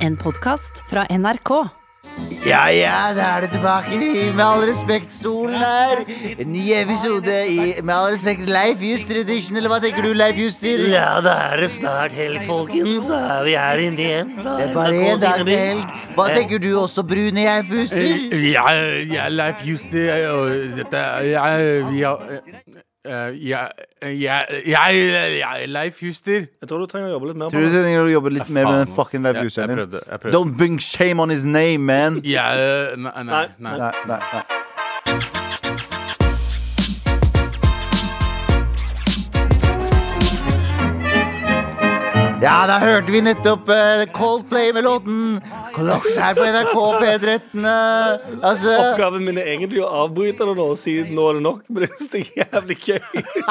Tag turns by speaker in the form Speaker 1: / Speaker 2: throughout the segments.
Speaker 1: En podkast fra NRK.
Speaker 2: Ja, ja, da er det tilbake i Med all respekt, stolen her En ny episode i Med all respekt, Leif Juster Edition Eller hva tenker du, Leif Juster?
Speaker 3: Ja, da er det snart helg, folkens. Da er Vi er inne igjen fra
Speaker 2: Det er bare en
Speaker 3: NRK
Speaker 2: dag
Speaker 3: sine
Speaker 2: til
Speaker 3: by.
Speaker 2: helg Hva tenker du også, brune Leif Juster?
Speaker 4: Eh, Ja, ja, Leif Juster eh, og dette ja, vi har eh, ja, ja, ja, ja, Leif Juster.
Speaker 3: Jeg tror du trenger å jobbe litt mer på
Speaker 2: Tror du
Speaker 3: det.
Speaker 2: du trenger å jobbe litt mer med den fucking Leif
Speaker 4: Ja, jeg
Speaker 2: Justeren din?
Speaker 4: prøvde, jeg prøvde.
Speaker 2: Don't bring shame on his name, man
Speaker 4: Ja, eh, nei, nei, nei.
Speaker 2: Nei, nei, nei Ja, da hørte vi nettopp eh, Coldplay med låten Clocks her på NRK P13. eh, altså
Speaker 3: Oppgaven min er egentlig å avbryte det nå og si nå er det nok, men jeg synes det er jævlig gøy.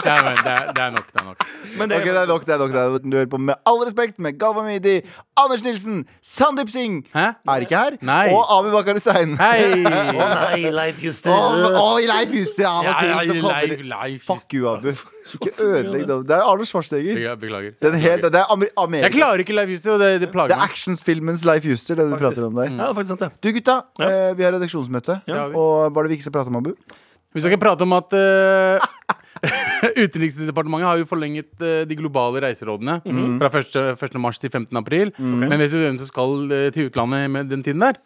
Speaker 4: Ja, men det, er, det er nok, det er nok.
Speaker 3: Men det
Speaker 2: Ok, det er nok, det er nok. Det er nok. Du hører på Med all respekt med Galva Mehidi, Anders Nilsen, Sandeep Singh
Speaker 4: Hæ?
Speaker 2: er ikke her.
Speaker 4: Nei.
Speaker 2: Og Abu Bakar Hussein.
Speaker 3: Å
Speaker 4: Hei!
Speaker 3: nei, Leif Juster.
Speaker 2: Og, og Leif Huster av og
Speaker 4: Ja,
Speaker 2: til
Speaker 4: ja,
Speaker 2: som kommer.
Speaker 4: Leif, Leif
Speaker 2: Fuck you, Abu. Ikke ødelegg det. Det er Arne Schwarzenegger.
Speaker 4: Beklager. beklager.
Speaker 2: Det er, helt, det er Amer-
Speaker 4: Jeg
Speaker 2: Amerika.
Speaker 4: klarer ikke Leif Juster, og det, det
Speaker 2: Det
Speaker 4: plager
Speaker 2: er
Speaker 4: meg.
Speaker 2: actionsfilmens Leif Huster, det du prater om der.
Speaker 3: Ja, faktisk sant det.
Speaker 2: Du, gutta.
Speaker 3: Ja.
Speaker 2: eh, Vi har redaksjonsmøte.
Speaker 4: Ja, vi-
Speaker 2: Og var det vi ikke skal prate om, Abu?
Speaker 4: Vi skal ikke prate om at eh, Utenriksdepartementet har jo forlenget eh, de globale reiserådene
Speaker 2: Mhm.
Speaker 4: fra 1. 1. mars til 15. april. Men vet du hvem som skal eh, til utlandet med den tiden der?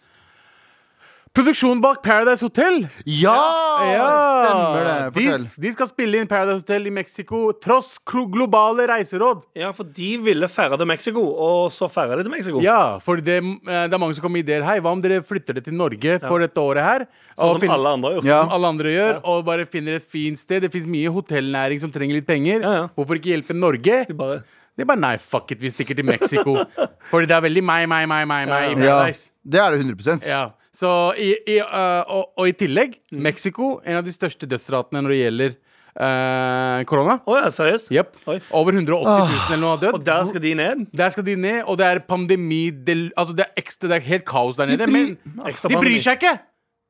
Speaker 4: Produksjonen bak Paradise Hotel!
Speaker 2: Ja! Stemmer det. Fortell.
Speaker 4: De, de skal spille inn Paradise Hotel i Mexico tross kro- globale reiseråd.
Speaker 3: Ja, for de ville ferde til Mexico, og så ferda de til
Speaker 2: Oh.
Speaker 3: Mexico.
Speaker 4: Ja, for det, eh, det er mange som kommer med ideer. Hei, hva om dere flytter det til Norge for dette året her? og
Speaker 3: Sånn som
Speaker 4: finner-
Speaker 3: alle andre har gjort.
Speaker 2: Ja.
Speaker 4: som alle andre gjør, og bare finner et fint sted. Det fins mye hotellnæring som trenger litt penger.
Speaker 3: Ja, ja.
Speaker 4: Hvorfor ikke hjelpe Norge?
Speaker 3: De bare
Speaker 4: Det er bare nei, fuck it, vi stikker til Mexico. Fordi det er veldig meg, meg, meg, meg, meg i
Speaker 2: Ja,
Speaker 4: Paradise.
Speaker 2: det er det 100
Speaker 4: Ja. Så i, i, øh, og, og i tillegg,
Speaker 3: Mm.
Speaker 4: Mexico, en av de største dødsratene når det gjelder øh, korona.
Speaker 3: Å ja, seriøst?
Speaker 4: Jepp.
Speaker 3: Oi. Ah.
Speaker 4: Over 180 000 eller noe har
Speaker 3: Og
Speaker 4: dødd.
Speaker 3: der skal de ned?
Speaker 4: Der skal de ned, og det er pandemi del, Altså det er ekstra, det er helt kaos der nede.
Speaker 2: bryr-
Speaker 4: men
Speaker 3: Ekstra
Speaker 4: de
Speaker 3: pandemi.
Speaker 4: bryr seg ikke!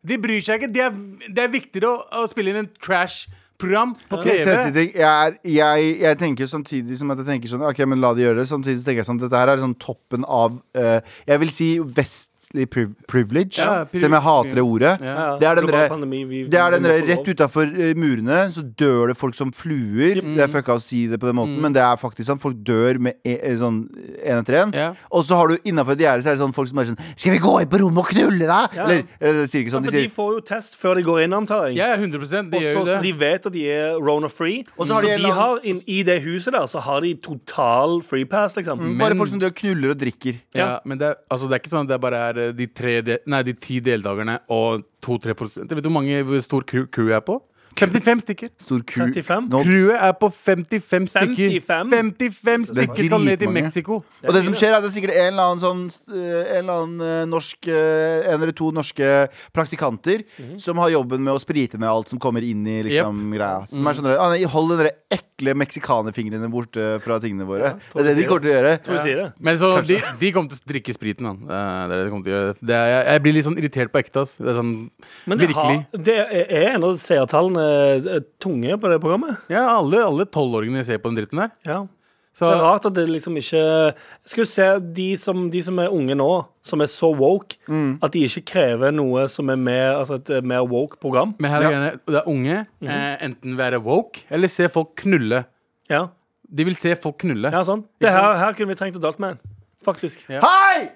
Speaker 4: De bryr seg ikke. Det er, det er viktigere å, å spille inn en trash-program på
Speaker 2: Skal jeg si en
Speaker 4: TV.
Speaker 2: ting? Jeg, er, jeg, jeg tenker samtidig som at jeg tenker sånn Ok, men la de gjøre det. Samtidig så tenker jeg sånn dette her er sånn toppen av eh, Jeg vil si vestlig priv privilege.
Speaker 4: Ja, priv-
Speaker 2: selv om jeg hater det ordet.
Speaker 4: Ja.
Speaker 2: Det er den
Speaker 3: Global
Speaker 2: derre
Speaker 3: pandemi, vi-
Speaker 2: det er den
Speaker 3: vi må
Speaker 2: der
Speaker 3: få lov.
Speaker 2: rett utafor murene så dør det folk som fluer.
Speaker 3: Mm.
Speaker 2: Det er fucka å si det på den måten, men det er faktisk sant. Folk dør med e e- sånn én etter én.
Speaker 4: Ja.
Speaker 2: Og så har du innafor et gjerde så er det sånn folk som er sånn Skal vi gå inn på rommet og knulle, da?
Speaker 3: Ja.
Speaker 2: Eller, eller de sier ikke
Speaker 3: Ja,
Speaker 2: sånn.
Speaker 3: for
Speaker 2: De
Speaker 3: de
Speaker 2: sier
Speaker 3: får jo test før de går inn, antar jeg.
Speaker 4: Ja, ja, 100 De
Speaker 3: Og
Speaker 4: gjør
Speaker 3: så
Speaker 4: jo det.
Speaker 3: så de vet at de er Rona-free.
Speaker 2: Og
Speaker 3: Så,
Speaker 2: så har de en
Speaker 3: de
Speaker 2: lang-
Speaker 3: har inn, i det huset der så har de total free pass, liksom.
Speaker 2: Bare folk som dør, knuller og drikker.
Speaker 4: Ja,
Speaker 3: Ja.
Speaker 4: men det er, altså det er ikke sånn at det bare er eh, de, tre de, nei, de ti deltakerne og to-tre prosent. Vet du hvor mange hvor stor crew, crew er på? 55 stykker.
Speaker 2: Stor ku.
Speaker 3: 35?
Speaker 2: Nå
Speaker 4: Crewet er på 55 stykker. 55
Speaker 3: 55?
Speaker 2: Det er
Speaker 4: stykker skal ned til
Speaker 2: dritmange.
Speaker 4: Mexico.
Speaker 2: Og det som skjer er at det er sikkert en eller annen sånn eh, En eller annen eh, norsk eh, En eller to norske praktikanter
Speaker 3: Mhm.
Speaker 2: Som har jobben med å sprite ned alt som kommer inn i liksom greia Som
Speaker 3: Mhm.
Speaker 2: er sånn der, «Ah, nei, Hold den der ekle meksikanerfingrene borte fra tingene våre Det er det de kommer til å gjøre
Speaker 3: Tror jeg sier det.
Speaker 4: Men så de, de kommer til å drikke spriten, han. Eh, Det er det de kommer til å gjøre. Det er, jeg, jeg blir litt sånn irritert på ekte, ass. Det er sånn
Speaker 3: Men det,
Speaker 4: virkelig.
Speaker 3: har, det er er en av seertallene eh, tunge på det programmet.
Speaker 4: Ja, alle alle tolvåringene ser på den dritten der.
Speaker 3: Ja.
Speaker 4: Så
Speaker 3: Det er rart at det liksom ikke Jeg skulle se de som, de som er unge nå, som er så woke,
Speaker 2: Mm.
Speaker 3: at de ikke krever noe som er mer, altså et eh, mer woke program.
Speaker 4: men her er
Speaker 2: Ja.
Speaker 4: greiene. det er unge.
Speaker 3: Mhm.
Speaker 4: eh, Enten være woke eller se folk knulle.
Speaker 3: Ja,
Speaker 4: De vil se folk knulle.
Speaker 3: ja sånn. Det her, her kunne vi trengt Adult Man, faktisk.
Speaker 4: Ja.
Speaker 2: Hei!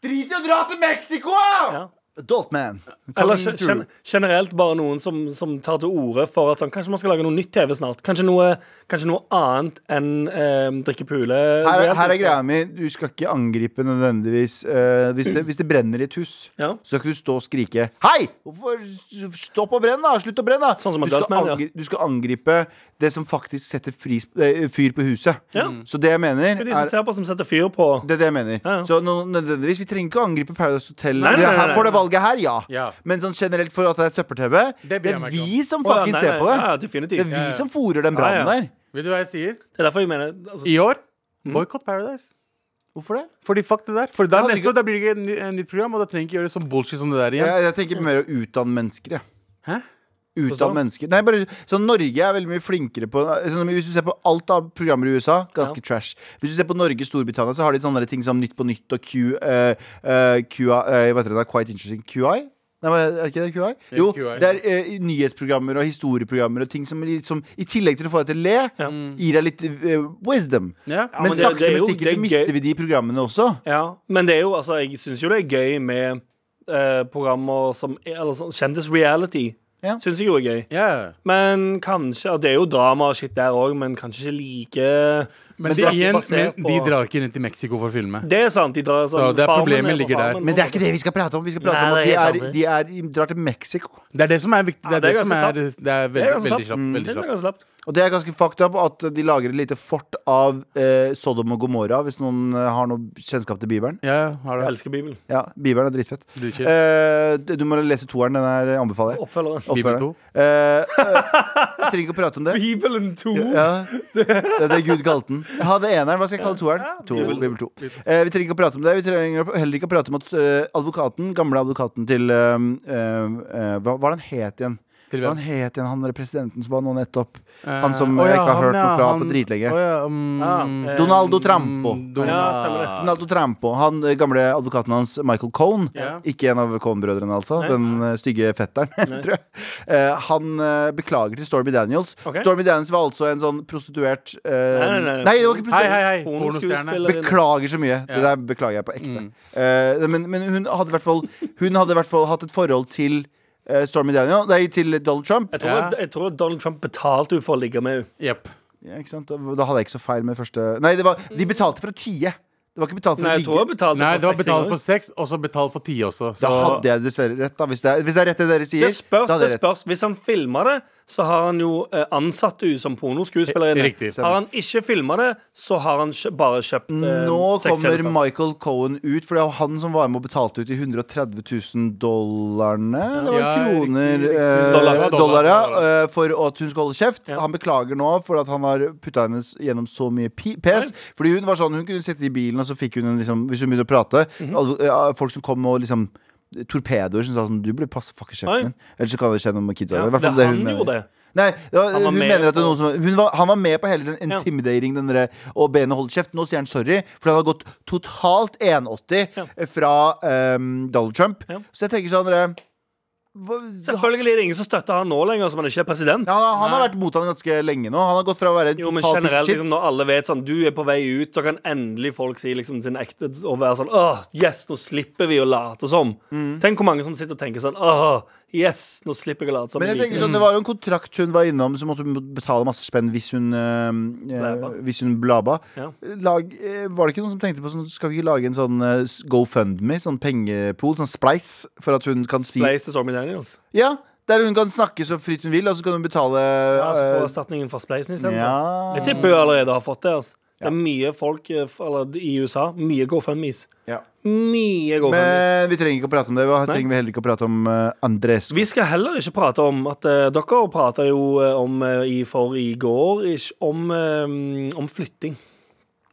Speaker 2: Drit i å dra til Meksiko!
Speaker 3: Ja.
Speaker 2: Adult man
Speaker 3: Eller
Speaker 2: Come
Speaker 3: gen-
Speaker 2: through.
Speaker 3: gen generelt bare noen som, som tar til orde for at sånn, kanskje man skal lage noe nytt TV snart. Kanskje noe, kanskje noe annet enn eh, drikkepule.
Speaker 2: her, er- her er greia mi Du skal ikke angripe nødvendigvis eh, hvis, det, hvis det brenner i et hus
Speaker 3: Ja.
Speaker 2: Så skal ikke du stå og skrike Hei! Hvorfor stopp å brenne da? Slutt å brenne da
Speaker 3: Sånn som
Speaker 2: du, skal
Speaker 3: Adult Man, ja.
Speaker 2: angri- du skal angripe det som faktisk setter fris, eh, fyr på huset
Speaker 3: Ja.
Speaker 2: Så det jeg mener
Speaker 3: Det er
Speaker 2: Mm. er,
Speaker 3: de som ser på, som setter fyr på
Speaker 2: det er det jeg mener
Speaker 3: Ja, ja.
Speaker 2: Så nå- nødvendigvis, vi trenger ikke å angripe Paradise Hotel
Speaker 3: Nei, nei, nei, nei,
Speaker 2: Her- For det
Speaker 3: nei.
Speaker 2: valget her, ja.
Speaker 4: Ja.
Speaker 2: Men sånn generelt for at det er søppeltv Det,
Speaker 4: Det bryr jeg
Speaker 2: er
Speaker 4: meg ikke
Speaker 2: vi som
Speaker 3: Å, ja,
Speaker 2: fucking
Speaker 3: nei,
Speaker 2: ser
Speaker 3: nei,
Speaker 2: på det
Speaker 3: Ja,
Speaker 2: Det
Speaker 3: definitivt.
Speaker 2: er
Speaker 3: Det
Speaker 2: vi
Speaker 4: ja.
Speaker 2: som fôrer den
Speaker 3: Ja, ja.
Speaker 2: branden der
Speaker 4: Vet du hva jeg sier?
Speaker 3: er derfor jeg mener altså,
Speaker 4: I år boikott Paradise.
Speaker 2: Hvorfor det?
Speaker 4: Fordi fuck det der. For da
Speaker 2: hadde
Speaker 4: neste
Speaker 2: ikke-
Speaker 4: år da blir det ikke eh, et ny- et nytt program, og da trenger jeg ikke gjøre det sånn bullshit som det der igjen.
Speaker 2: Jeg, jeg tenker mer å utdanne mennesker, jeg
Speaker 4: Hæ?
Speaker 3: sånn?
Speaker 2: Utdann mennesker. Nei, bare, så Norge er veldig mye flinkere på sånn, som Hvis du ser på alt av programmer i USA, ganske trash. Hvis du ser på Norge og Storbritannia, så har de sånne ting som Nytt på nytt og Q... eh, eh, QI eh, Hva heter det? da? Quite interesting. QI? Nei, hva- er det ikke det QI? Jo,
Speaker 4: QI.
Speaker 2: det er eh, nyhetsprogrammer og historieprogrammer og ting som liksom, i tillegg til å få deg til å le, gir deg litt eh, wisdom.
Speaker 4: Ja. Ja,
Speaker 2: men
Speaker 3: men det-
Speaker 2: sakte,
Speaker 3: det er jo-
Speaker 2: men
Speaker 3: det
Speaker 2: sikkert
Speaker 3: er
Speaker 2: så mister
Speaker 3: gøy.
Speaker 2: vi de programmene også.
Speaker 3: Ja, men det er jo, altså, jeg syns jo det er gøy med eh, programmer som Eller sånn kjendis-reality.
Speaker 2: Ja.
Speaker 3: Synes Syns jeg jo er gøy.
Speaker 4: Ja.
Speaker 3: Men kanskje og Det er jo drama og shit der òg, men kanskje ikke like
Speaker 4: Men,
Speaker 3: det er ikke
Speaker 4: igjen,
Speaker 3: basert
Speaker 4: men
Speaker 3: på-
Speaker 4: de drar ikke ned til Mexico for å filme.
Speaker 3: Det er sant. De drar sånn
Speaker 4: Så det er
Speaker 3: Farmen
Speaker 4: problemet
Speaker 3: på
Speaker 4: ligger der.
Speaker 3: Farmen,
Speaker 2: Men det er ikke det vi skal prate om. Vi skal prate
Speaker 3: Nei,
Speaker 2: om at
Speaker 3: det er
Speaker 2: de,
Speaker 3: helt
Speaker 2: er, de, er, de drar til Mexico.
Speaker 4: Det er det som er viktig. Det
Speaker 3: Ja,
Speaker 4: er det,
Speaker 3: det er
Speaker 4: som
Speaker 3: ganske
Speaker 4: er, det er
Speaker 3: Det er
Speaker 4: veldig,
Speaker 3: ganske
Speaker 4: veldig
Speaker 3: slapt.
Speaker 4: kjapt.
Speaker 3: Det
Speaker 4: Veldig
Speaker 3: er
Speaker 4: kjapt.
Speaker 3: ganske slapt.
Speaker 2: Og det er ganske fucked up at de lager et lite fort av eh, Sodom og Gomorra, hvis noen eh, har noe kjennskap til Bibelen.
Speaker 4: Ja, har
Speaker 3: Jeg
Speaker 4: du.
Speaker 3: elsker Bibelen.
Speaker 2: Ja, Bibelen er dritfett.
Speaker 4: Dritkjipt.
Speaker 2: Eh, du du må lese toeren. Den her anbefaler jeg.
Speaker 3: Oppfølgeren.
Speaker 2: Oppfølgeren.
Speaker 4: Bibel 2.
Speaker 2: Eh, eh, jeg trenger ikke å prate om det.
Speaker 3: Bibelen 2.
Speaker 2: Ja, det er det Gud kalte den. Jeg hadde eneren, hva skal jeg kalle toeren? To,
Speaker 3: Bibel to.
Speaker 2: Bibel to. Eh, vi trenger ikke å prate om det. Vi trenger heller ikke å prate om at eh, advokaten, gamle advokaten til eh, eh, eh, Hva var det han het igjen?
Speaker 4: Til
Speaker 2: Hva
Speaker 4: hvem?
Speaker 2: han het igjen, han der presidenten som var nå nettopp?
Speaker 4: Eh,
Speaker 2: Han som
Speaker 4: å
Speaker 2: jeg
Speaker 4: ja,
Speaker 2: ikke har hørt
Speaker 4: han,
Speaker 2: noe
Speaker 4: ja,
Speaker 2: fra
Speaker 4: han-
Speaker 2: på dritlenge.
Speaker 4: å ja, um,
Speaker 3: Ja,
Speaker 4: mm,
Speaker 3: eh,
Speaker 2: Donaldo Trampo.
Speaker 4: Donald-
Speaker 3: Ja, stemmer det.
Speaker 2: Donaldo Trampo, han eh, gamle advokaten hans, Michael Cohn.
Speaker 4: Ja.
Speaker 2: Ikke en av Cohn-brødrene, altså. Den eh, stygge fetteren, tror jeg. Eh, han eh, beklager til Stormy Daniels.
Speaker 3: Ok.
Speaker 2: Stormy Daniels var altså en sånn prostituert eh,
Speaker 3: Nei, nei, nei.
Speaker 2: nei, det var ikke
Speaker 4: Hei,
Speaker 2: prostituert.
Speaker 4: hei, hei.
Speaker 3: Pornoskuespiller.
Speaker 4: Pornostjerne.
Speaker 2: Beklager så mye. Det
Speaker 4: Ja.
Speaker 2: der beklager jeg på ekte.
Speaker 3: Mm.
Speaker 2: Eh, men, men hun hadde i hvert fall Hun hadde i hvert fall hatt et forhold til eh, Stormy Daniel, nei, til Donald Trump.
Speaker 3: Jeg tror,
Speaker 4: Ja.
Speaker 3: jeg tror Donald Trump betalte henne for å ligge med henne.
Speaker 4: Jepp.
Speaker 2: Ja, ikke sant? Da, da hadde jeg ikke så feil med første Nei, det var, de betalte for å tie. Det var ikke betalt for
Speaker 3: Nei,
Speaker 2: å
Speaker 3: jeg tror jeg
Speaker 2: ligge.
Speaker 3: betalte
Speaker 4: Nei,
Speaker 3: for
Speaker 4: det var
Speaker 3: sex
Speaker 4: betalt
Speaker 3: i
Speaker 4: for
Speaker 3: gang.
Speaker 4: sex, og så betalt for ti også.
Speaker 2: Da
Speaker 4: Så
Speaker 2: hadde jeg dessverre rett, da. Hvis det er, hvis det er rett det dere sier,
Speaker 3: det
Speaker 2: da
Speaker 3: spørs, det
Speaker 2: hadde jeg rett.
Speaker 3: spørs. Hvis han filma det, så har han jo eh, ansatt henne som pornoskuespillerinne.
Speaker 4: Riktig.
Speaker 3: Har han ikke filma det, så har han kjø bare kjøpt eh,
Speaker 2: Nå kommer
Speaker 3: sextjenester.
Speaker 2: Michael Cohen ut, for det var han som var med og betalte ut de 130 000 dollarene Eller var det
Speaker 4: Ja,
Speaker 2: kroner
Speaker 4: riktig,
Speaker 2: eh,
Speaker 4: riktig.
Speaker 2: Dollar,
Speaker 3: Dollar,
Speaker 2: ja,
Speaker 3: dollar,
Speaker 4: dollar.
Speaker 2: eh, for at hun skal holde kjeft.
Speaker 3: Ja.
Speaker 2: Han beklager nå for at han har putta henne s- gjennom så mye pi- pes. Fordi hun var sånn, hun kunne sitte i bilen, og så fikk hun en liksom Hvis hun begynte å prate
Speaker 3: Mhm.
Speaker 2: advo- eh, Folk som kom og liksom Torpedoer som sa sånn Du burde passe fucke
Speaker 3: Oi.
Speaker 2: kjeften din. Ellers så kan det skje noe med kidsa.
Speaker 3: Ja,
Speaker 2: dine." I hvert fall
Speaker 3: det
Speaker 2: det hun
Speaker 3: han
Speaker 2: mener.
Speaker 3: gjorde det.
Speaker 2: Nei, det var,
Speaker 3: Han var
Speaker 2: hun
Speaker 3: med
Speaker 2: mener at det er
Speaker 3: på-
Speaker 2: noen som hun var, Han var med på hele den
Speaker 3: Ja.
Speaker 2: intimidating den derre Og benet holder kjeft. Nå sier han sorry, for han har gått totalt 180
Speaker 3: Ja.
Speaker 2: fra ehm, Donald Trump.
Speaker 3: Ja.
Speaker 2: Så jeg tenker sånn dere, hva-
Speaker 3: Selvfølgelig er det ingen som støtter han nå lenger, som han ikke er president.
Speaker 2: ja, han, han har vært mot han ganske lenge nå. Han har gått fra å være en
Speaker 3: Jo, men
Speaker 2: total
Speaker 3: generelt,
Speaker 2: bullshit
Speaker 3: liksom, når alle vet sånn Du er på vei ut, så kan endelig folk si liksom sin ekte og være sånn Åh, yes, nå slipper vi å late som.
Speaker 2: Mm.
Speaker 3: Tenk hvor mange som sitter og tenker sånn Åh, yes, nå slipper jeg å late som.
Speaker 2: Men jeg
Speaker 3: liker
Speaker 2: tenker sånn, Det var jo en kontrakt hun var innom, som måtte hun betale masse spenn hvis hun eh, eh,
Speaker 3: Blaba.
Speaker 2: Hvis hun blaba.
Speaker 3: Ja.
Speaker 2: Lag, eh, var det ikke noen som tenkte på sånn, skal vi ikke lage en sånn eh, GoFundMe, sånn pengepol, sånn spleis, for at hun kan si
Speaker 3: Blaze til Stormy Daniels.
Speaker 2: Ja, der hun kan snakke så fritt hun vil, og så kan hun betale
Speaker 3: Ja, så får
Speaker 2: eh,
Speaker 3: Altså, erstatningen fra Spleisen i stedet.
Speaker 2: Ja.
Speaker 3: Jeg tipper hun allerede har fått det. Altså. Det er mye folk eh, f- eller, i USA. Mye GoFundMes.
Speaker 2: ja.
Speaker 3: Mye GoFundMes.
Speaker 2: Men vi trenger ikke å prate om det. Vi trenger vi heller ikke å prate om eh, Andres.
Speaker 3: Vi skal heller ikke prate om at eh, Dere prata jo eh, om eh, i for i går ish, om, eh, om flytting.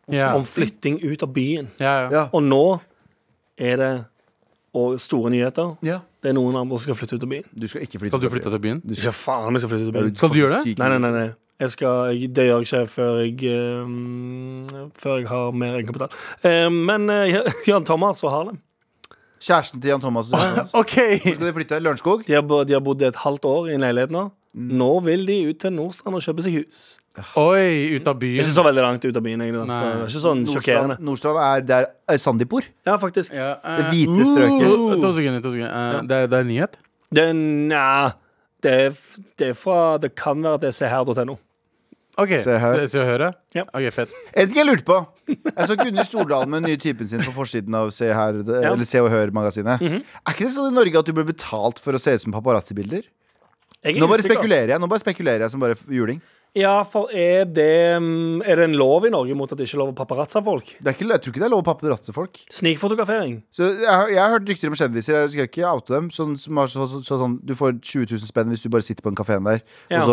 Speaker 4: ja.
Speaker 3: Om flytting ut av byen.
Speaker 4: Ja, ja.
Speaker 2: Ja.
Speaker 3: Og nå er det og store nyheter.
Speaker 2: Ja.
Speaker 3: Det er noen andre som skal flytte ut av byen.
Speaker 2: Du skal ikke flytte.
Speaker 4: Skal du flytte til byen?
Speaker 3: Ikke faen om jeg skal flytte ut av byen.
Speaker 4: Skal du gjøre det?
Speaker 2: Syk-
Speaker 3: Nei, nei, nei. nei. Jeg skal, jeg, det gjør jeg ikke før jeg, eh, før jeg har mer egenkapital. Eh, men eh, Jan Thomas og Harlem
Speaker 2: Kjæresten til Jan Thomas. Hvor
Speaker 4: OK!
Speaker 2: skal de flytte? Lørenskog?
Speaker 3: de har, bo- de har bodd et halvt år i en leilighet nå.
Speaker 2: Mm.
Speaker 3: Nå vil de ut til Nordstrand og kjøpe seg hus.
Speaker 4: Oi, ut av
Speaker 3: Det er
Speaker 4: byen.
Speaker 2: sånn.
Speaker 3: ikke så veldig langt ut av byen, egentlig. Da. Så det
Speaker 4: Nei.
Speaker 3: er ikke sånn sjokkerende.
Speaker 2: Nordstrand, Nordstrand er der eh, Sandeep bor.
Speaker 3: Ja, faktisk.
Speaker 4: Ja, eh,
Speaker 2: Det hvite strøket.
Speaker 4: to, to sekunder. To sekunder. Eh, det, er, det er nyhet?
Speaker 3: Det, er- nja, det, er f- det er fra Det kan være at det er seher.no.
Speaker 4: OK.
Speaker 2: Se her.
Speaker 4: Se og høre?
Speaker 3: Ja.
Speaker 4: OK, fett.
Speaker 2: En ting jeg lurte på. Jeg så Gunnhild Stordalen med den nye typen sin på forsiden av Se, her, eller Se og Hør-magasinet. Er ikke det sånn i Norge at du blir betalt for å se ut som paparazzi-bilder?
Speaker 3: Jeg er
Speaker 2: Nå bare
Speaker 3: usikker.
Speaker 2: spekulerer jeg Nå bare spekulerer jeg som bare f- juling.
Speaker 3: Ja, for er det, mm, er det en lov i Norge mot at det ikke er lov å paparazza folk?
Speaker 2: Det er ikke, jeg tror ikke det er lov å paparazze folk.
Speaker 3: Snikfotografering.
Speaker 2: Så jeg, har- jeg har hørt rykter om kjendiser. Jeg skal ikke oute dem. Sånn, som har så, så, så, sånn, du får 20 000 spenn hvis du bare sitter på en kafé der,
Speaker 3: Ja.
Speaker 2: og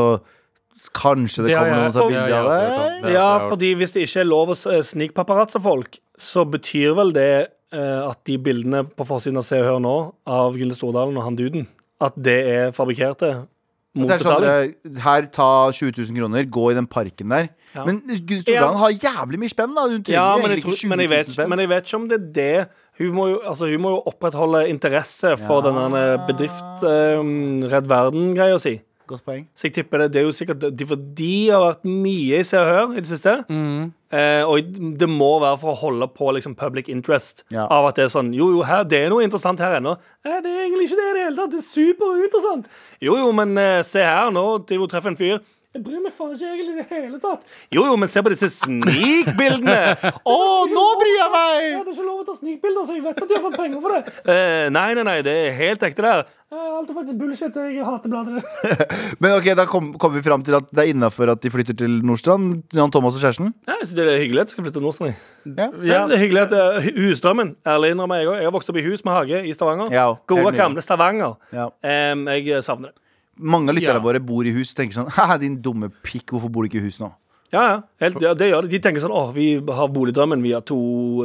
Speaker 2: så kanskje det
Speaker 4: Det har
Speaker 2: kommer noen og
Speaker 4: jeg-
Speaker 2: tar
Speaker 4: det har
Speaker 2: bilde
Speaker 4: jeg
Speaker 2: av
Speaker 4: også hørt
Speaker 2: deg.
Speaker 4: om. Det har jeg også
Speaker 3: Ja,
Speaker 4: hørt.
Speaker 3: fordi hvis det ikke er lov å s- eh, snikpaparazza folk, så betyr vel det eh, at de bildene på forsiden av Se og Hør nå, av Gulle Stordalen og han duden, at det er fabrikkerte
Speaker 2: Det er
Speaker 3: mot
Speaker 2: sånn,
Speaker 3: betaling.
Speaker 2: dere, her, ta 20 000 kroner, gå i den parken der.
Speaker 3: Ja.
Speaker 2: Men Gud Stordalen har jævlig mye spenn, da. Hun trenger
Speaker 3: Ja, men jeg,
Speaker 2: egentlig
Speaker 3: tror,
Speaker 2: ikke 20
Speaker 3: men, jeg
Speaker 2: 000
Speaker 3: vet,
Speaker 2: spenn.
Speaker 3: men jeg vet ikke om det er det. Hun må jo, altså, hun må jo opprettholde interesse for denne bedrift eh, Redd Verden-greia si.
Speaker 2: Godt poeng.
Speaker 3: Så jeg tipper det, det er jo sikkert de, For de har vært mye i Se og Hør i det siste. Eh, og det må være for å holde på liksom, public interest.
Speaker 2: Ja.
Speaker 3: Av at det er sånn Jo, jo, her, det er noe interessant her ennå. Nei, det er egentlig ikke det i det hele tatt. Det er superinteressant. Jo, jo, men eh, se her, nå til hun treffer en fyr. Jeg bryr meg faen ikke egentlig i det hele tatt. Jo, jo, men se på disse snikbildene.
Speaker 2: Å, nå bryr jeg meg!
Speaker 3: hadde ikke lov å ta snikbilder, så jeg vet at de har fått penger for det. Eh, nei, nei, nei, det er helt ekte der. Eh, alt er faktisk bullshit. Jeg hater bladet.
Speaker 2: Men ok, da kom- kommer vi fram til at det er innafor at de flytter til Nordstrand, Jan Thomas og kjæresten.
Speaker 3: Jeg synes det er hyggelig at jeg skal flytte til Nordstrand.
Speaker 4: Ja.
Speaker 3: Det er hyggelig at eh, hu- Husdrømmen. Ærlig innrømmer jeg òg. Jeg har vokst opp i hus med hage i Stavanger.
Speaker 2: Ja, helt
Speaker 3: Gode,
Speaker 2: nydelig.
Speaker 3: gamle Stavanger.
Speaker 2: Ja.
Speaker 3: Em, jeg eh, savner det.
Speaker 2: Mange av lytterne
Speaker 4: Ja.
Speaker 2: våre bor i hus og tenker sånn Haha, din dumme pikk, hvorfor bor du ikke i hus nå?
Speaker 3: Ja, ja, helt, ja, det gjør det. De tenker sånn åh, vi har boligdrømmen. Vi har to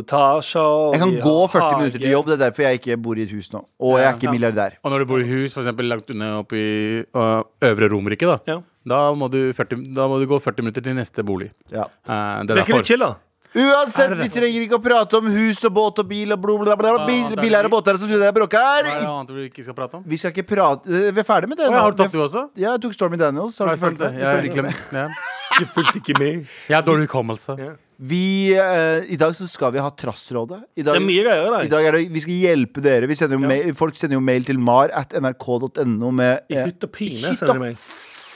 Speaker 3: etasjer. og
Speaker 2: Jeg kan
Speaker 3: vi
Speaker 2: gå
Speaker 3: har
Speaker 2: 40
Speaker 4: Ah,
Speaker 2: minutter
Speaker 3: hage.
Speaker 2: til jobb, det er derfor jeg ikke bor i et hus nå. Og jeg er ikke milliardær.
Speaker 4: Og når du bor i hus, f.eks. langt unna oppe i øh, Øvre Romerike, da,
Speaker 3: Ja.
Speaker 4: da, må du 40, da må du gå 40 minutter til neste bolig.
Speaker 2: Ja.
Speaker 4: Eh, det er
Speaker 3: Det er ikke
Speaker 4: derfor.
Speaker 3: litt chill, da?
Speaker 2: Uansett, vi trenger ikke å prate om hus og båt og bil og bla, bla, bla. bla.
Speaker 4: Ah,
Speaker 2: Bil- Biler og båter som tuller og bråker.
Speaker 4: Hva er det annet vi ikke skal prate om?
Speaker 2: Vi skal ikke prate eh, Vi er ferdig med det.
Speaker 4: Å,
Speaker 2: nå.
Speaker 4: har du tatt
Speaker 2: Vi er
Speaker 4: det også?
Speaker 2: f- Ja, jeg tok Stormy Daniels. Har du
Speaker 4: Nei,
Speaker 2: ikke fulgt
Speaker 4: sant det.
Speaker 2: med?
Speaker 4: Jeg,
Speaker 2: Du fulgte med?
Speaker 4: glemmer. ja.
Speaker 3: Jeg fulgte ikke med.
Speaker 4: jeg har dårlig hukommelse.
Speaker 3: Ja.
Speaker 2: Vi, eh, I dag så skal vi ha Trassrådet. I dag,
Speaker 3: Det er mye greier i
Speaker 2: i
Speaker 3: dag.
Speaker 2: dag er det, vi skal hjelpe dere. Vi sender jo mail, folk sender jo mail til mar at nrk.no med
Speaker 3: I
Speaker 2: eh,
Speaker 3: hytt og pine,
Speaker 2: hytt og
Speaker 3: sender de meg.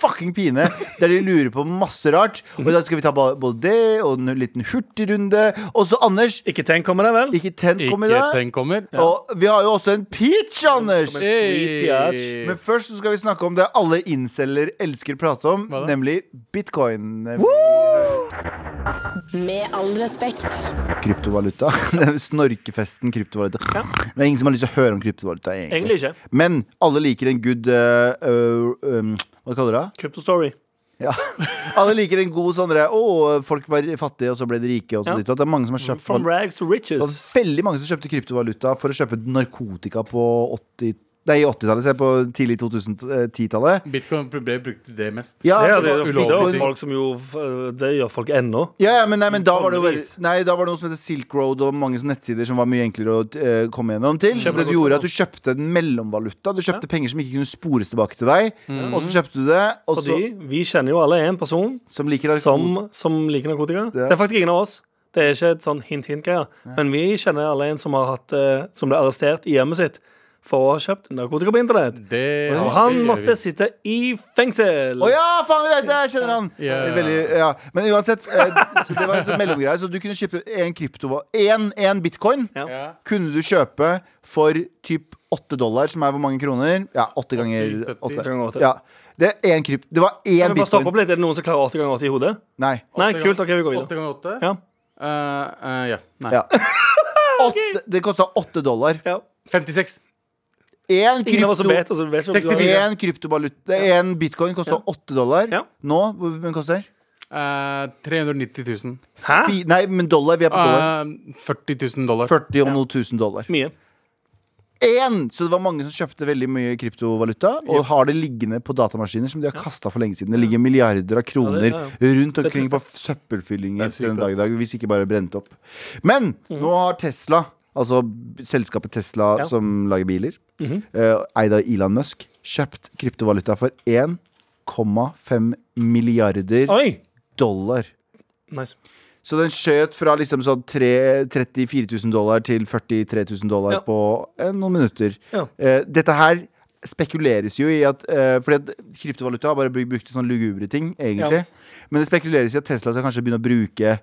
Speaker 2: fucking pine, der de lurer på masse rart. Og i dag skal vi ta ba- både det og en liten hurtigrunde. Og så Anders.
Speaker 3: Ikke tenk kommer det, vel?
Speaker 2: Ikke tent kom i
Speaker 4: Ikke
Speaker 2: dag.
Speaker 4: tenk kommer.
Speaker 2: Og vi har jo også en peach, Anders!
Speaker 3: Kom igjen. Sweet biatch.
Speaker 2: Men først så skal vi snakke om det alle inceller elsker å prate om,
Speaker 4: Hva da?
Speaker 2: nemlig bitcoin.
Speaker 1: Med all respekt.
Speaker 2: Kryptovaluta. Den Snorkefesten kryptovaluta. Det er ingen som har lyst til å høre om kryptovaluta, egentlig.
Speaker 3: Egentlig ikke.
Speaker 2: Men alle liker en good eh, eh, um, Hva kaller du det?
Speaker 3: Kryptostory.
Speaker 2: Ja. Alle liker en god sånn derre, Å, folk var fattige, og så ble de rike, og så
Speaker 3: Ja.
Speaker 2: ditt og datt. Det er mange som har kjøpt
Speaker 3: From rags to
Speaker 2: Det
Speaker 3: riches.
Speaker 2: var veldig mange som kjøpte kryptovaluta for å kjøpe narkotika på 80 Nei, 80-tallet, se på tidlig 2010-tallet.
Speaker 4: Bitcoin ble brukt til det mest.
Speaker 2: Ja,
Speaker 3: Det er, det,
Speaker 2: det var
Speaker 3: er,
Speaker 4: ulovlig.
Speaker 3: det er
Speaker 2: ting.
Speaker 3: folk som jo Det gjør folk ennå.
Speaker 2: Ja, ja, men, nei, men da var det jo
Speaker 3: Tonnevis.
Speaker 2: veldig- Nei, da var det noe som heter Silk Road og mange sånne nettsider som var mye enklere å eh, komme gjennom til. Så
Speaker 3: Kjøper
Speaker 2: det du
Speaker 3: du godt
Speaker 2: gjorde at du kjøpte en mellomvaluta. Du kjøpte penger som ikke kunne spores tilbake til deg,
Speaker 3: Mm.
Speaker 2: og så kjøpte du det, og så,
Speaker 3: Fordi vi kjenner jo alle en person
Speaker 2: som liker narkotika.
Speaker 3: som, som liker narkotika. Det er faktisk ingen av oss. Det er ikke et sånn hint-hint-greie. Men vi kjenner alle en som, har hatt, eh, som ble arrestert i hjemmet sitt for å ha kjøpt narkotika på internett.
Speaker 4: Det,
Speaker 2: Og
Speaker 3: Og
Speaker 4: det
Speaker 3: han
Speaker 4: gjør
Speaker 3: måtte
Speaker 4: vi.
Speaker 3: sitte i fengsel.
Speaker 2: Mm. Å ja, faen, jeg vet det! Jeg kjenner han.
Speaker 4: Ja.
Speaker 2: Det er Veldig, ja. Men uansett, eh, så det var et mellomgreie. Så du kunne kjøpe én kryptova... Én én bitcoin
Speaker 3: Ja.
Speaker 4: ja.
Speaker 2: kunne du kjøpe for typ 8 dollar, som er hvor mange kroner? Ja, 8 ganger
Speaker 4: 70.
Speaker 2: 8.
Speaker 3: Ganger åtte.
Speaker 2: Ja. Det, er en krypt, det var én
Speaker 3: Kan vi bare stoppe
Speaker 2: bitcoin.
Speaker 3: opp litt? Er det noen som klarer 8 ganger 80 i hodet?
Speaker 2: Nei.
Speaker 4: Åtte
Speaker 3: Nei,
Speaker 4: ganger-
Speaker 3: kult. OK, vi går
Speaker 4: Åtte
Speaker 3: videre.
Speaker 4: ganger åtte?
Speaker 3: Ja.
Speaker 4: Eh, eh, ja. Nei.
Speaker 2: Ja. Åtte, det kosta 8 dollar.
Speaker 3: ja.
Speaker 4: 56.
Speaker 2: Én
Speaker 3: Ingen av oss
Speaker 2: krypto,
Speaker 3: som bet. Altså, vi vet ikke om du
Speaker 4: 64.
Speaker 3: har-
Speaker 2: en kryptovaluta Én bitcoin kosta 8 dollar.
Speaker 3: Ja.
Speaker 2: Nå, hvor mye koster den?
Speaker 4: Eh, 390 000.
Speaker 3: Hæ?
Speaker 2: Fi- Nei, men dollar. Vi er på
Speaker 3: Ah.
Speaker 2: dollar.
Speaker 4: Eh, 40 000 dollar.
Speaker 2: 40 og noe tusen dollar.
Speaker 3: Mye.
Speaker 2: Én! Så det var mange som kjøpte veldig mye kryptovaluta, og har det liggende på datamaskiner som de har kasta for lenge siden. Det ligger milliarder av kroner
Speaker 3: Ja, det-
Speaker 2: rundt omkring
Speaker 3: Det er
Speaker 2: på søppelfyllinger
Speaker 4: Det er sykt,
Speaker 2: den dag i
Speaker 4: ass.
Speaker 2: dag, hvis ikke bare brent opp. Men nå har Tesla, altså selskapet Tesla
Speaker 3: Mhm. Ja. Mhm.
Speaker 2: som lager biler, eh, eid av Elon Musk, kjøpt kryptovaluta for 1,5 milliarder
Speaker 3: Oi!
Speaker 2: dollar.
Speaker 3: Nice.
Speaker 2: Så den skjøt fra liksom sånn tre- 34 000 dollar til 43 000 dollar
Speaker 3: Ja.
Speaker 2: på eh, noen minutter.
Speaker 3: Ja.
Speaker 2: Eh, dette her spekuleres jo i at eh, Fordi at kryptovaluta har bare blitt brukt til sånne lugubre ting, egentlig. Men det spekuleres i at Tesla skal kanskje begynne å bruke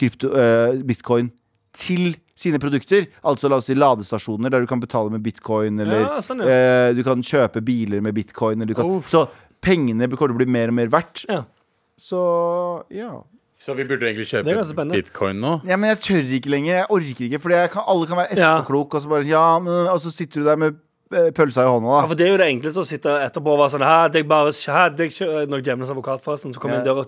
Speaker 2: krypto, eh, bitcoin til sine produkter. Altså la oss si ladestasjoner der du kan betale med bitcoin, eller
Speaker 3: Ja, sånn, ja.
Speaker 2: eh, du kan kjøpe biler med bitcoin. Eller du kan,
Speaker 4: Oh.
Speaker 2: Så pengene kommer til å bli mer og mer verdt.
Speaker 3: Ja.
Speaker 2: Så ja.
Speaker 4: Så vi burde egentlig
Speaker 3: Det er
Speaker 4: kjøpe
Speaker 3: ganske spennende.
Speaker 4: bitcoin nå.
Speaker 2: Ja, men jeg tør ikke lenger. Jeg orker ikke. Fordi jeg kan, alle kan være etterpåklok, og, så bare, ja, men, og så sitter du der med eh, pølsa i hånda.
Speaker 3: Ja,
Speaker 2: Da.
Speaker 3: for Det er jo det enkleste å sitte etterpå og være sånn Hadde jeg bare hadde jeg, ikke-" Når Djevnens advokat forresten, så kom jeg inn døra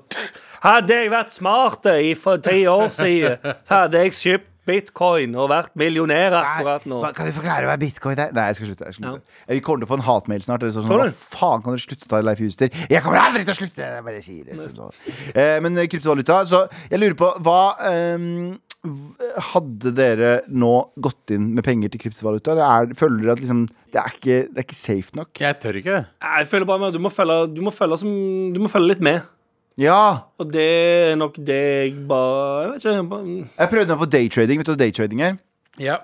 Speaker 3: Hadde jeg vært smart i for ti år siden, så hadde jeg kjøpt bitcoin og vært millionær
Speaker 2: Nei,
Speaker 3: akkurat nå.
Speaker 2: hva- kan vi forklare hva bitcoin er? Nei, jeg skal slutte. Jeg skal
Speaker 3: Ja.
Speaker 2: slutte. Eh, Vi kommer til å få en hatmail snart. Eller sånn,
Speaker 3: Tror du?
Speaker 2: hva faen kan dere slutte å ta Leif Juster? Jeg kommer aldri til å slutte! Jeg bare sier det. Sånn. nå. Eh, men eh, kryptovaluta, så jeg lurer på hva ehm, v- Hadde dere nå gått inn med penger til kryptovaluta? Eller er, føler dere at liksom, det, er ikke, det er ikke safe nok?
Speaker 4: Jeg tør ikke det.
Speaker 3: Nei, Jeg føler bare med, at du må følge, du må følge, som, du må følge litt med.
Speaker 2: Ja!
Speaker 3: Og det er nok det jeg bare Jeg vet ikke. Bare, mm,
Speaker 2: Jeg prøvde meg på daytrading. Vet du hva daytrading er?
Speaker 4: Ja.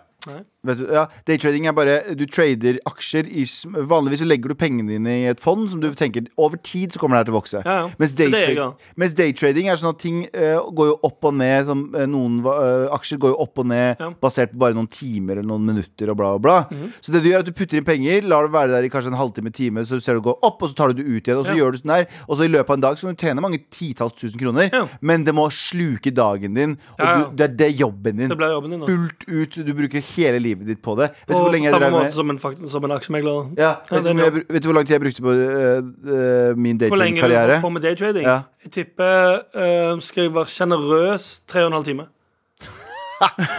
Speaker 2: Vet du, ja, daytrading er bare Du trader aksjer i sm- Vanligvis så legger du pengene dine i et fond som du tenker over tid så kommer det her til å vokse.
Speaker 3: Ja, ja.
Speaker 2: Mens,
Speaker 3: Det er det
Speaker 2: daytrad-
Speaker 3: jeg gjør.
Speaker 2: mens daytrading er sånn at ting eh, går jo opp og ned. Som, eh, noen va- eh, aksjer går jo opp og ned
Speaker 3: Ja. Mhm.
Speaker 2: basert på bare noen timer eller noen minutter og bla, bla, bla. Så det du gjør, er at du putter inn penger, lar det være der i kanskje en halvtime, time, så ser du det går opp, og så tar du det ut igjen, og så
Speaker 3: Ja.
Speaker 2: gjør du sånn der. Og så i løpet av en dag så kan du tjene mange titalls tusen kroner,
Speaker 3: Ja.
Speaker 2: men det må sluke dagen din, og
Speaker 3: Ja, ja.
Speaker 2: Du, det er det jobben din
Speaker 3: det blir jobben din. da.
Speaker 2: fullt ut. Du bruker hele livet ditt på det. Vet du hvor
Speaker 3: Og
Speaker 2: lenge
Speaker 3: på
Speaker 2: jeg
Speaker 3: samme
Speaker 2: drev
Speaker 3: måte
Speaker 2: med
Speaker 3: som en, fakt- som en aksjemeglere.
Speaker 2: ja, vet, du
Speaker 3: det
Speaker 2: hvor
Speaker 3: er
Speaker 2: mye jeg,
Speaker 3: det.
Speaker 2: bru- vet du hvor lang tid jeg brukte på øh, øh, min
Speaker 3: Hvor lenge du
Speaker 2: daytrading-karriere?
Speaker 3: holder på med daytrading?
Speaker 2: Ja.
Speaker 3: Jeg tipper eh, Skal jeg være sjenerøs tre og en halv time.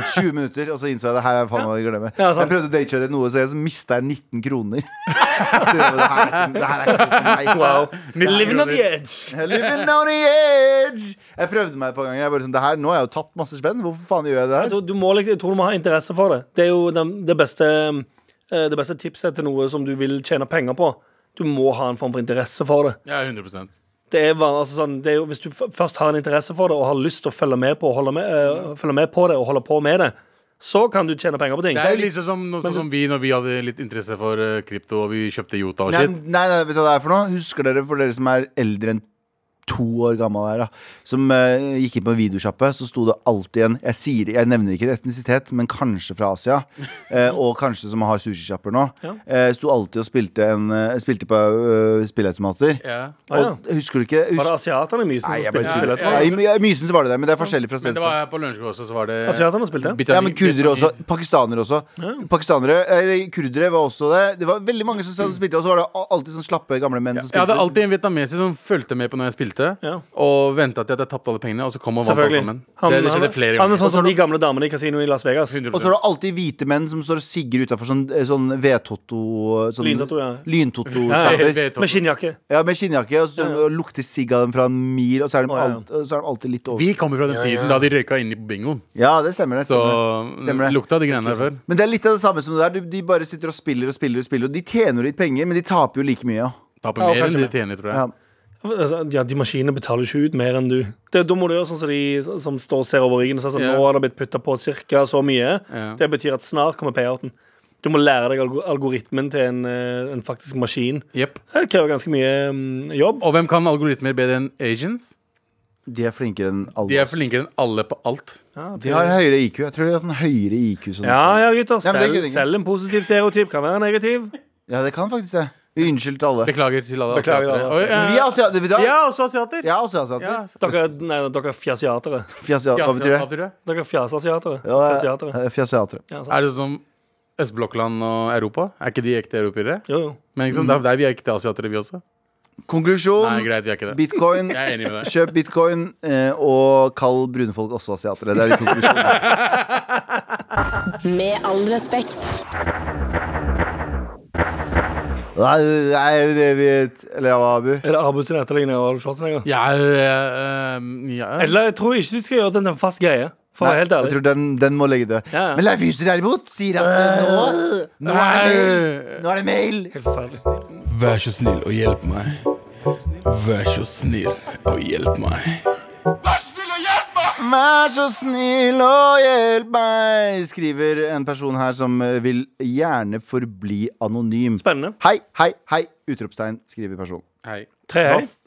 Speaker 2: 20 minutter, og så innså jeg det her er faen meg å glemme.
Speaker 3: Ja, sant.
Speaker 2: jeg prøvde å daytrade noe, så jeg mista 19 kroner. det, var, det, her er ikke, det her er ikke for meg.
Speaker 3: Wow.
Speaker 4: Nitten
Speaker 3: Living on the
Speaker 4: kroner.
Speaker 3: edge.
Speaker 2: Living on the edge! Jeg prøvde meg et par ganger. Jeg bare sånn, det her, nå har jeg jo tapt masse spenn. Hvorfor faen gjør jeg det
Speaker 3: Jeg
Speaker 2: her?
Speaker 3: tror, du må, liksom- jeg tror du må ha interesse for det. Det er jo den, det, beste, eh, det beste tipset til noe som du vil tjene penger på. Du må ha en form for interesse for det.
Speaker 4: Ja, 100
Speaker 3: det, er, van- altså sånn, det er jo, Hvis du f- først har en interesse for det og har lyst til å følge med på, og holde med, eh, følge med på det og holde på med det, så kan du tjene penger på ting.
Speaker 4: Det er jo litt sånn som, noe sånn som vi når vi hadde litt interesse for eh, krypto og vi kjøpte Yota og
Speaker 2: Nei,
Speaker 4: shit.
Speaker 2: nei, nei, vet du hva det er for noe? Husker dere, for dere som er eldre enn to år gammel her, da, som eh, gikk inn på en videosjappe, så sto det alltid en Jeg, sier, jeg nevner ikke etnisitet, men kanskje fra Asia, eh, og kanskje som har sushisjapper nå,
Speaker 3: Ja.
Speaker 2: eh, sto alltid og spilte, en, eh, spilte på eh, spilleautomater.
Speaker 4: Ja.
Speaker 3: Ah, ja.
Speaker 2: Og husker du ikke
Speaker 3: Var det
Speaker 2: husk,
Speaker 3: asiaterne i Mysen
Speaker 2: Nei,
Speaker 3: som
Speaker 2: jeg bare
Speaker 4: spill,
Speaker 3: spilte
Speaker 2: tuller.
Speaker 4: jeg
Speaker 3: spillet?
Speaker 4: tror.
Speaker 2: Ja, i My- i Mysen så var det det, men det er forskjellig fra
Speaker 4: Men
Speaker 2: sted
Speaker 4: det var her på lunsjgård også, så var det
Speaker 3: Asiatene spilte?
Speaker 4: Bitani-
Speaker 2: Ja, men kurdere også.
Speaker 4: Vietnamese.
Speaker 2: Pakistanere også. Pakistanere, eller Kurdere var også det. Det var veldig mange som sa de spilte, og så var det al- alltid sånn slappe gamle menn som
Speaker 4: Jeg hadde
Speaker 2: spilte.
Speaker 4: alltid en vietnameser som fulgte med på når jeg spilte,
Speaker 3: Ja.
Speaker 4: og venta til at jeg tapte alle pengene, og så kom og vant alle
Speaker 3: Selvfølgelig.
Speaker 4: sammen.
Speaker 3: Han,
Speaker 4: det, det skjedde flere
Speaker 3: han, han er
Speaker 4: ganger.
Speaker 3: sånn som de gamle damene i kasinoet i Las Vegas.
Speaker 4: 100%.
Speaker 2: Og så er det alltid hvite menn som står og sigger utafor sånn, sånn V-totto sånn,
Speaker 3: Lyntoto, ja.
Speaker 2: Lyntoto-sjapper.
Speaker 4: Helt
Speaker 3: Med skinnjakke.
Speaker 2: Ja, med skinnjakke, og så står de og lukter sigg av dem fra en mil, og så er de,
Speaker 3: Å, ja.
Speaker 2: alt, og så er de alltid litt over
Speaker 4: Vi kommer fra den tiden da de røyka inni på bingoen.
Speaker 2: Ja, det stemmer, det.
Speaker 4: Så
Speaker 2: Stemmer. det. Stemmer det.
Speaker 4: lukta de greiene der før.
Speaker 2: Men det er litt av det samme som det der. Du- De bare sitter og spiller og spiller, og spiller Og de tjener jo litt penger, men de taper jo like mye. ja.
Speaker 4: Taper
Speaker 3: Ja,
Speaker 4: mer
Speaker 3: kanskje
Speaker 4: enn de
Speaker 3: mer.
Speaker 4: tjener, tror
Speaker 2: Ja.
Speaker 4: jeg.
Speaker 3: Altså, Ja, De maskinene betaler ikke ut mer enn du. Det, da må du gjøre sånn som de som står og ser over ryggen og sier sånn,
Speaker 4: Ja.
Speaker 3: nå har det blitt putta på ca. så mye.
Speaker 4: Ja.
Speaker 3: Det betyr at snart kommer payouten. Du må lære deg algo- algoritmen til en, eh, en faktisk maskin.
Speaker 4: Jep.
Speaker 3: Det krever ganske mye mm, jobb.
Speaker 4: Og hvem kan algoritmer bedre enn Asians?
Speaker 2: De er flinkere enn alle.
Speaker 4: De er
Speaker 2: oss.
Speaker 4: flinkere enn alle på alt.
Speaker 3: Ja,
Speaker 2: De har høyere IQ. Jeg tror de har sånn høyere IQ. Sånn.
Speaker 3: ja, ja, gutter.
Speaker 2: Ja, men det er
Speaker 3: Selv,
Speaker 2: ikke det.
Speaker 3: selv en positiv stereotyp kan være negativ.
Speaker 2: Ja, det kan faktisk det. Unnskyld til alle.
Speaker 4: Beklager til alle
Speaker 3: Beklager til alle altså.
Speaker 4: asiatere. Oi,
Speaker 2: Vi er asiater.
Speaker 4: ja. Vi
Speaker 2: Ja,
Speaker 4: er også asiater.
Speaker 2: ja asiater.
Speaker 4: Ja,
Speaker 3: Dere, nei, dere er fjasiatere.
Speaker 2: Fjasiater. Hva betyr det?
Speaker 4: asiater, ja.
Speaker 3: Dere er fjasasiatere. Fjasiatere.
Speaker 2: Ja, Fjasiatere.
Speaker 3: Ja, sant.
Speaker 4: Er det som Østblokkland og Europa? Er ikke de ekte europeere?
Speaker 3: Jo, jo.
Speaker 4: Men ikke sant, der, der vi er ekte asiatere, vi også. Nei,
Speaker 2: Konklusjon.
Speaker 4: greit, vi er ikke det.
Speaker 2: Bitcoin.
Speaker 4: Jeg er enig med deg.
Speaker 2: Kjøp bitcoin eh, og kall brune folk også asiatere. Det er de to konklusjonene.
Speaker 1: Med all respekt.
Speaker 2: Nei, nei, det vet Eller ja, Abu?
Speaker 3: Er det Abu sin etterligning av Arnold Schwarzenegger?
Speaker 4: Ja, øh, øh, ja.
Speaker 3: Eller jeg tror ikke du skal gjøre den til en fast greie. For å
Speaker 2: Nei,
Speaker 3: være helt
Speaker 2: jeg
Speaker 3: ærlig.
Speaker 2: tror den, den må legge død.
Speaker 3: Ja, ja.
Speaker 2: Men Leif Juster derimot sier at eh, nå, nå er det mail! Nå er det mail!
Speaker 3: Helt forferdelig.
Speaker 5: Vær så snill og hjelp meg. Vær så snill og hjelp meg.
Speaker 2: Vær så snill og hjelp meg, skriver en person her som eh, vil gjerne forbli anonym.
Speaker 3: Spennende.
Speaker 2: Hei, hei, hei! Utropstegn, skriver personen.
Speaker 4: Hei.
Speaker 3: Tre
Speaker 2: Hva
Speaker 3: hei.
Speaker 2: f-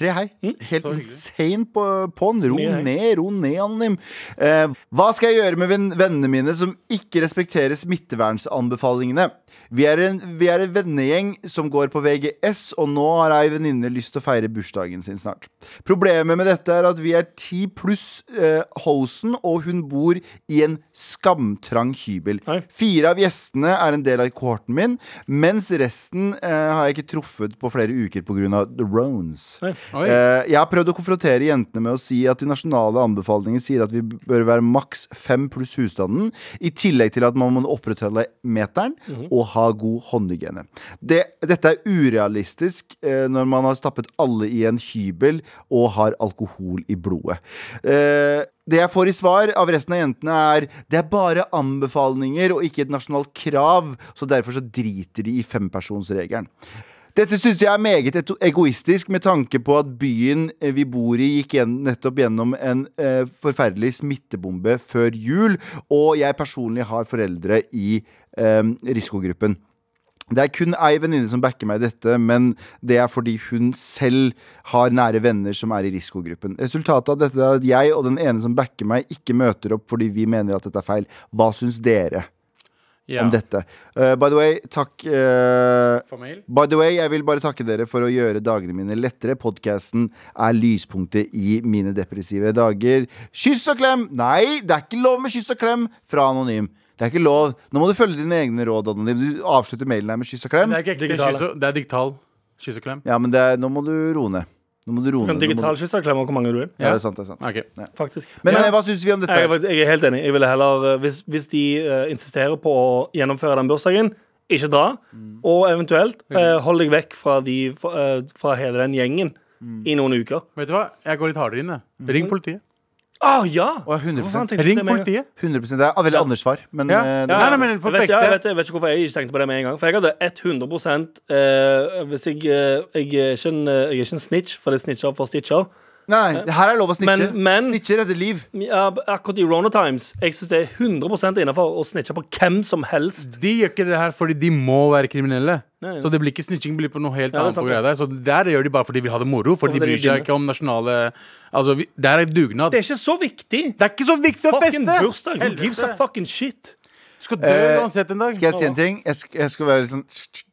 Speaker 2: Tre hei. Helt insane på, på'n. Ro
Speaker 3: Mye hei.
Speaker 2: ned, ro ned, anonym. Eh, hva skal jeg gjøre med venn- vennene mine som ikke respekterer smittevernanbefalingene? Vi er, en, vi er en vennegjeng som går på VGS, og nå har ei venninne lyst til å feire bursdagen sin snart. Problemet med dette er at vi er ti pluss eh, hosen, og hun bor i en skamtrang hybel.
Speaker 3: Oi.
Speaker 2: Fire av gjestene er en del av kohorten min, mens resten eh, har jeg ikke truffet på flere uker pga. the rones.
Speaker 4: Oi.
Speaker 2: Eh, jeg har prøvd å konfrontere jentene med å si at de nasjonale anbefalingene sier at vi bør være maks fem pluss husstanden, i tillegg til at man må opprettholde meteren og ha god håndhygiene. Det, dette er urealistisk eh, når man har stappet alle i en hybel og har alkohol i blodet. Eh, det jeg får i svar av resten av jentene, er det er bare anbefalinger og ikke et nasjonalt krav, så derfor så driter de i fempersonsregelen. Dette syns jeg er meget eto- egoistisk, med tanke på at byen eh, vi bor i, gikk gjen, nettopp gjennom en eh, forferdelig smittebombe før jul, og jeg personlig har foreldre i eh, risikogruppen. Det er kun ei venninne som backer meg i dette, men det er fordi hun selv har nære venner som er i risikogruppen. Resultatet av dette er at jeg og den ene som backer meg, ikke møter opp fordi vi mener at dette er feil. Hva syns dere
Speaker 4: Ja.
Speaker 2: om dette? Eh, by the way, takk eh,
Speaker 4: For mail?
Speaker 2: By the way, jeg vil bare takke dere for å gjøre dagene mine lettere. Podkasten er lyspunktet i mine depressive dager. Kyss og klem! Nei, det er ikke lov med kyss og klem fra Anonym. Det er ikke lov. Nå må du følge dine egne råd, Anonym. Du avslutter mailen her med kyss og klem.
Speaker 4: Det er ikke ekte
Speaker 3: Digitale.
Speaker 4: kyss og- Det er digital kysseklem.
Speaker 2: Ja, men det er, nå må du roe ned. Nå må du roe
Speaker 3: Du kan
Speaker 2: ned. Nå må
Speaker 3: digital
Speaker 2: du,
Speaker 3: kyssavklemme hvor mange du vil.
Speaker 2: ja, det er sant, det er sant.
Speaker 4: Ok.
Speaker 3: Faktisk.
Speaker 2: Men
Speaker 3: Ja.
Speaker 2: eh, hva syns vi om dette?
Speaker 3: Jeg, er faktisk- jeg er helt enig. Jeg ville heller, eh, hvis, hvis de eh, insisterer på å gjennomføre den bursdagen, ikke dra.
Speaker 4: Mm.
Speaker 3: Og eventuelt eh, hold deg vekk fra, de, fra, eh, fra hele den gjengen
Speaker 4: Mm.
Speaker 3: i noen uker.
Speaker 4: Vet du hva? Jeg går litt hardere inn. jeg. Ring politiet.
Speaker 3: Å Ah, ja!
Speaker 2: Å, 100%.
Speaker 3: Hvorfor tenkte jeg ikke
Speaker 4: Ring
Speaker 3: det med en gang?
Speaker 4: politiet.
Speaker 2: 100 Det er et veldig Anders-svar, men
Speaker 4: Ja.
Speaker 2: eh, det,
Speaker 4: Ja. Nei, nei, men på
Speaker 3: jeg, vet,
Speaker 4: begge.
Speaker 3: ja, jeg, vet, jeg vet ikke hvorfor jeg ikke tenkte på det med en gang. For jeg hadde 100 eh, Hvis jeg, eh, jeg, er ikke en, eh, jeg er ikke en snitch, for det er snitcher for stitcher.
Speaker 2: Nei, det her er lov å snitche.
Speaker 3: Men- men-
Speaker 2: Snitche redder liv.
Speaker 3: Ja, akkurat i Rona Times Jeg synes det er 100 innenfor å snitche på hvem som helst.
Speaker 4: De gjør ikke det her fordi de må være kriminelle.
Speaker 3: Nei, ja.
Speaker 4: Så det blir ikke snitching blir på noe helt
Speaker 3: Ja, det er
Speaker 4: annet.
Speaker 3: sant,
Speaker 4: på greia der Så der gjør de bare fordi de vil ha det moro. For
Speaker 3: Og
Speaker 4: de
Speaker 3: fordi de
Speaker 4: bryr
Speaker 3: er
Speaker 4: seg
Speaker 3: dumme.
Speaker 4: ikke om nasjonale Altså, vi, det er dugnad.
Speaker 3: Det er ikke så viktig.
Speaker 4: Det er ikke så viktig å feste!
Speaker 3: Fucking bursdag. Who
Speaker 4: Helvete.
Speaker 3: gives a fucking shit?
Speaker 4: Du skal dø
Speaker 2: Eh,
Speaker 4: uansett en dag.
Speaker 2: Skal jeg si en ting? Jeg, sk jeg skal være sånn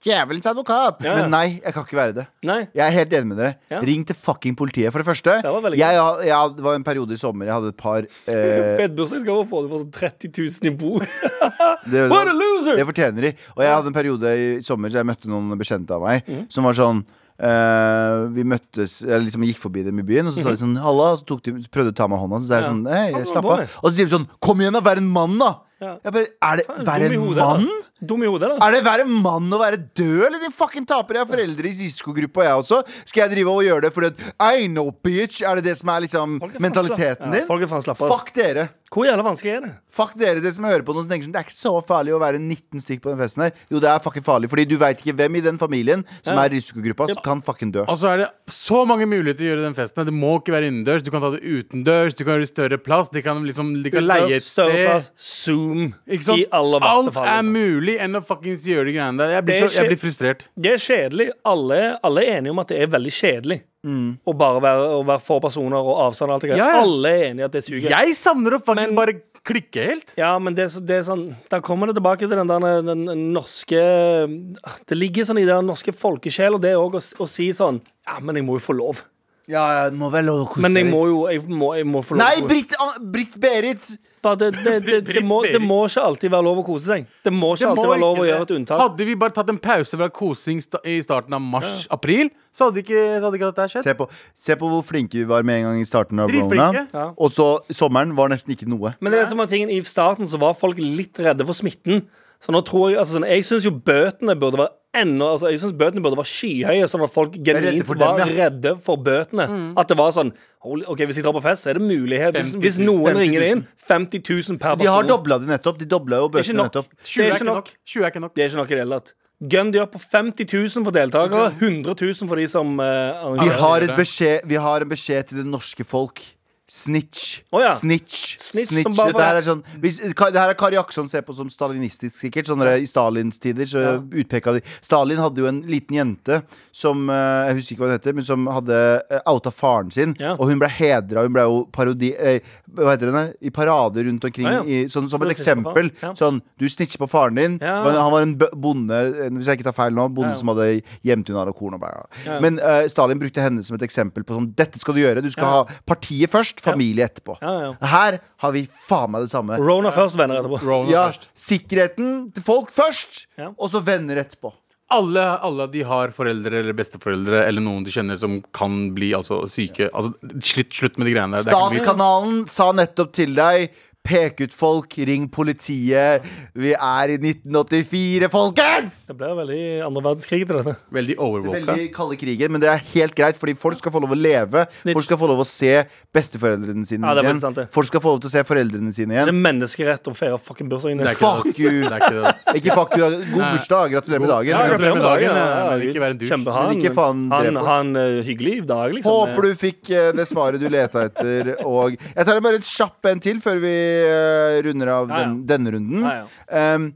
Speaker 2: Djevelens advokat!
Speaker 3: Ja, ja.
Speaker 2: Men nei, jeg kan ikke være det.
Speaker 3: Nei.
Speaker 2: Jeg er helt enig med dere.
Speaker 3: Ja.
Speaker 2: Ring til fucking politiet, for det første.
Speaker 3: Det var veldig
Speaker 2: jeg, jeg, det var en periode i sommer jeg hadde et par eh,
Speaker 3: Fett bursdagsgave får du for sånn 30 000 i bot.
Speaker 2: det,
Speaker 3: What a loser!
Speaker 2: det fortjener de. Og jeg hadde en periode i sommer så jeg møtte noen bekjente av meg
Speaker 3: Mhm.
Speaker 2: som var sånn eh, vi møttes, jeg liksom gikk forbi dem i byen, og så sa de sånn Halla, og så tok de, prøvde de å ta meg i hånda. Så sa jeg
Speaker 3: Mhm. Ja.
Speaker 2: sånn Hei,
Speaker 3: Hva
Speaker 2: jeg
Speaker 3: går
Speaker 2: slapp
Speaker 3: på
Speaker 2: av.
Speaker 3: med?
Speaker 2: Og så sier de sånn Kom igjen, da! Vær en mann, da!
Speaker 3: Ja.
Speaker 2: Jeg bare, er det Være
Speaker 3: Dum i
Speaker 2: en
Speaker 3: hodet, da.
Speaker 2: mann?
Speaker 3: Dum i hodet, da.
Speaker 2: Er det være mann og være død, eller din fucking taper? Jeg har foreldre i Cisco-gruppa, jeg også. Skal jeg drive og gjøre det fordi at I know, bitch? Er det det som er liksom
Speaker 3: Folk er faen slapp-
Speaker 2: mentaliteten
Speaker 3: Ja,
Speaker 2: din?
Speaker 3: folk er faen slapp av.
Speaker 2: Fuck dere.
Speaker 3: Hvor jævla vanskelig er det?
Speaker 2: Fuck dere, dere som hører på noen som tenker sånn Det er ikke så farlig å være 19 stykk på den festen her. Jo, det er fucking farlig, fordi du veit ikke hvem i den familien som
Speaker 3: Ja.
Speaker 2: er i risikogruppa, som kan fucking dø.
Speaker 4: Og så Altså, er det så mange muligheter til å gjøre den festen. Det må ikke være innendørs. Du kan ta det utendørs. Du kan gjøre større plass. De kan liksom de kan leie et
Speaker 3: Større
Speaker 4: sted.
Speaker 3: plass, Zoom.
Speaker 4: Ikke sant?
Speaker 3: I aller verste
Speaker 4: Alt
Speaker 3: fall.
Speaker 4: er
Speaker 3: liksom.
Speaker 4: mulig enn å fuckings gjøre de greiene der. Jeg
Speaker 3: Det er
Speaker 4: blir, så, jeg
Speaker 3: skje-
Speaker 4: blir frustrert.
Speaker 3: Det er kjedelig. Alle, alle er enige om at det er veldig kjedelig.
Speaker 2: Mm.
Speaker 3: Å bare være, å være få personer og avstand og alt det greia.
Speaker 4: Ja, ja.
Speaker 3: Alle er enige i at det suger.
Speaker 4: Jeg savner å faktisk
Speaker 3: Men-
Speaker 4: bare klikke helt.
Speaker 3: Ja, men det, er så- det er sånn Da kommer det tilbake til den der den norske Det ligger sånn i den norske folkesjela, det òg, å, s- å si sånn Ja, men jeg må jo få lov.
Speaker 2: Ja, ja, det må være lov å kose
Speaker 3: Men jeg
Speaker 2: litt.
Speaker 3: må jo jeg må, jeg må få lov.
Speaker 2: Nei, Britt, Britt Berit!
Speaker 3: Bare det, det, det, det, må, det må ikke alltid være lov å kose seg. Det må ikke
Speaker 4: Det
Speaker 3: alltid
Speaker 4: må
Speaker 3: være lov
Speaker 4: ikke
Speaker 3: å
Speaker 4: det.
Speaker 3: gjøre et unntak.
Speaker 4: Hadde vi bare tatt en pause fra kosing sta- i starten av mars-april, så hadde ikke, så hadde ikke dette her skjedd.
Speaker 2: Se på, se på hvor flinke vi var med en gang i starten av corona.
Speaker 4: Dritflinke.
Speaker 3: Ja.
Speaker 2: Og så sommeren var nesten ikke noe.
Speaker 3: Men det er det som var tingen i starten så var folk litt redde for smitten. Så nå tror Jeg altså sånn, Jeg syns jo bøtene burde være ennå Altså jeg synes bøtene burde være skyhøye, sånn at folk genuint
Speaker 2: for dem,
Speaker 3: var
Speaker 2: ja. Mm.
Speaker 3: redde for bøtene. At det var sånn holy, OK, hvis jeg drar på fest, så er det mulighet. Hvis,
Speaker 4: 50 000,
Speaker 3: hvis noen
Speaker 2: 50 000.
Speaker 3: ringer inn, 50 000 per person.
Speaker 2: De har dobla det nettopp. De dobla jo
Speaker 3: det er ikke
Speaker 2: bøtene
Speaker 3: nok.
Speaker 2: nettopp.
Speaker 3: Det
Speaker 4: 20
Speaker 3: er ikke nok.
Speaker 4: 20 er ikke nok.
Speaker 3: Det er ikke nok i det hele tatt. Gun de opp på 50 000 for deltakere,
Speaker 2: Altså-
Speaker 3: 100 000 for de som eh,
Speaker 2: Vi
Speaker 3: arrangerer.
Speaker 2: har,
Speaker 4: gjør
Speaker 2: et
Speaker 4: det.
Speaker 2: beskjed, vi har en beskjed til det norske folk. Snitch.
Speaker 3: Å ja.
Speaker 2: Snitch.
Speaker 3: Snitch
Speaker 2: Snitch.
Speaker 3: som bare-
Speaker 2: Dette her er sånn hvis, ka, Det her er Kari Akson ser på som stalinistisk, sikkert. Sånn der I Stalins tider så utpeka de Stalin hadde jo en liten jente som eh, Jeg husker ikke hva hun heter, men som hadde eh, outa faren sin.
Speaker 3: Ja.
Speaker 2: Og hun ble hedra. Hun ble jo parodi... eh, hva heter det? I parader rundt omkring.
Speaker 3: Ja, ja.
Speaker 2: I, sånn, som
Speaker 3: Du
Speaker 2: et
Speaker 3: snitcher på faren.
Speaker 2: eksempel.
Speaker 3: Ja.
Speaker 2: Sånn Du snitcher på faren din.
Speaker 3: Ja.
Speaker 2: Men Han var en bø- bonde, eh, hvis jeg ikke tar feil nå, bonde
Speaker 3: Ja.
Speaker 2: som hadde gjemt unna korn og bla, bla. bla.
Speaker 3: Ja.
Speaker 2: Men eh, Stalin brukte henne som et eksempel på sånn Dette skal du gjøre. Du skal
Speaker 3: Ja.
Speaker 2: ha partiet først, familie etterpå.
Speaker 3: Ja, ja.
Speaker 2: Her har vi faen meg det samme.
Speaker 3: Rona først, venner etterpå.
Speaker 4: Rona
Speaker 2: Ja,
Speaker 4: først.
Speaker 2: sikkerheten til folk først,
Speaker 3: Ja.
Speaker 2: og så venner etterpå.
Speaker 4: alle, alle de har foreldre eller besteforeldre eller noen de kjenner som kan bli altså, syke. Altså, slutt, slutt med de greiene der. Det er ikke vits.
Speaker 2: Statskanalen sa nettopp til deg Pek ut folk, ring politiet. Vi er i 1984, folkens!
Speaker 3: Det blir veldig andre verdenskrig til dette.
Speaker 4: Veldig overvåka.
Speaker 2: Veldig kalde krigen, men det er helt greit, fordi folk skal få lov å leve. Folk skal få lov å se besteforeldrene sine
Speaker 3: Ja, det er
Speaker 2: igjen.
Speaker 3: veldig sant, det.
Speaker 2: Folk skal få lov til å se foreldrene sine
Speaker 3: Det
Speaker 2: igjen.
Speaker 3: er menneskerett å feire fucking bursdagen
Speaker 4: Det
Speaker 3: din.
Speaker 4: er ikke det,
Speaker 2: Fuck
Speaker 4: ass.
Speaker 2: you.
Speaker 4: Det er ikke det, ass.
Speaker 2: Ikke fuck you, god bursdag, gratulerer med
Speaker 4: Ja,
Speaker 2: dagen.
Speaker 4: gratulerer med dagen, ja, men
Speaker 3: Gud.
Speaker 4: ikke vær en douche.
Speaker 3: Kjempehan.
Speaker 2: Men ikke faen
Speaker 3: Han,
Speaker 2: drepe.
Speaker 3: han eh, hyggelig dag, liksom.
Speaker 2: Håper du fikk eh, det svaret du leta etter. Og jeg tar bare et kjapp en til før vi eh, runder av
Speaker 3: Ja, ja.
Speaker 2: den, denne runden.
Speaker 3: Ja, ja.
Speaker 2: Em,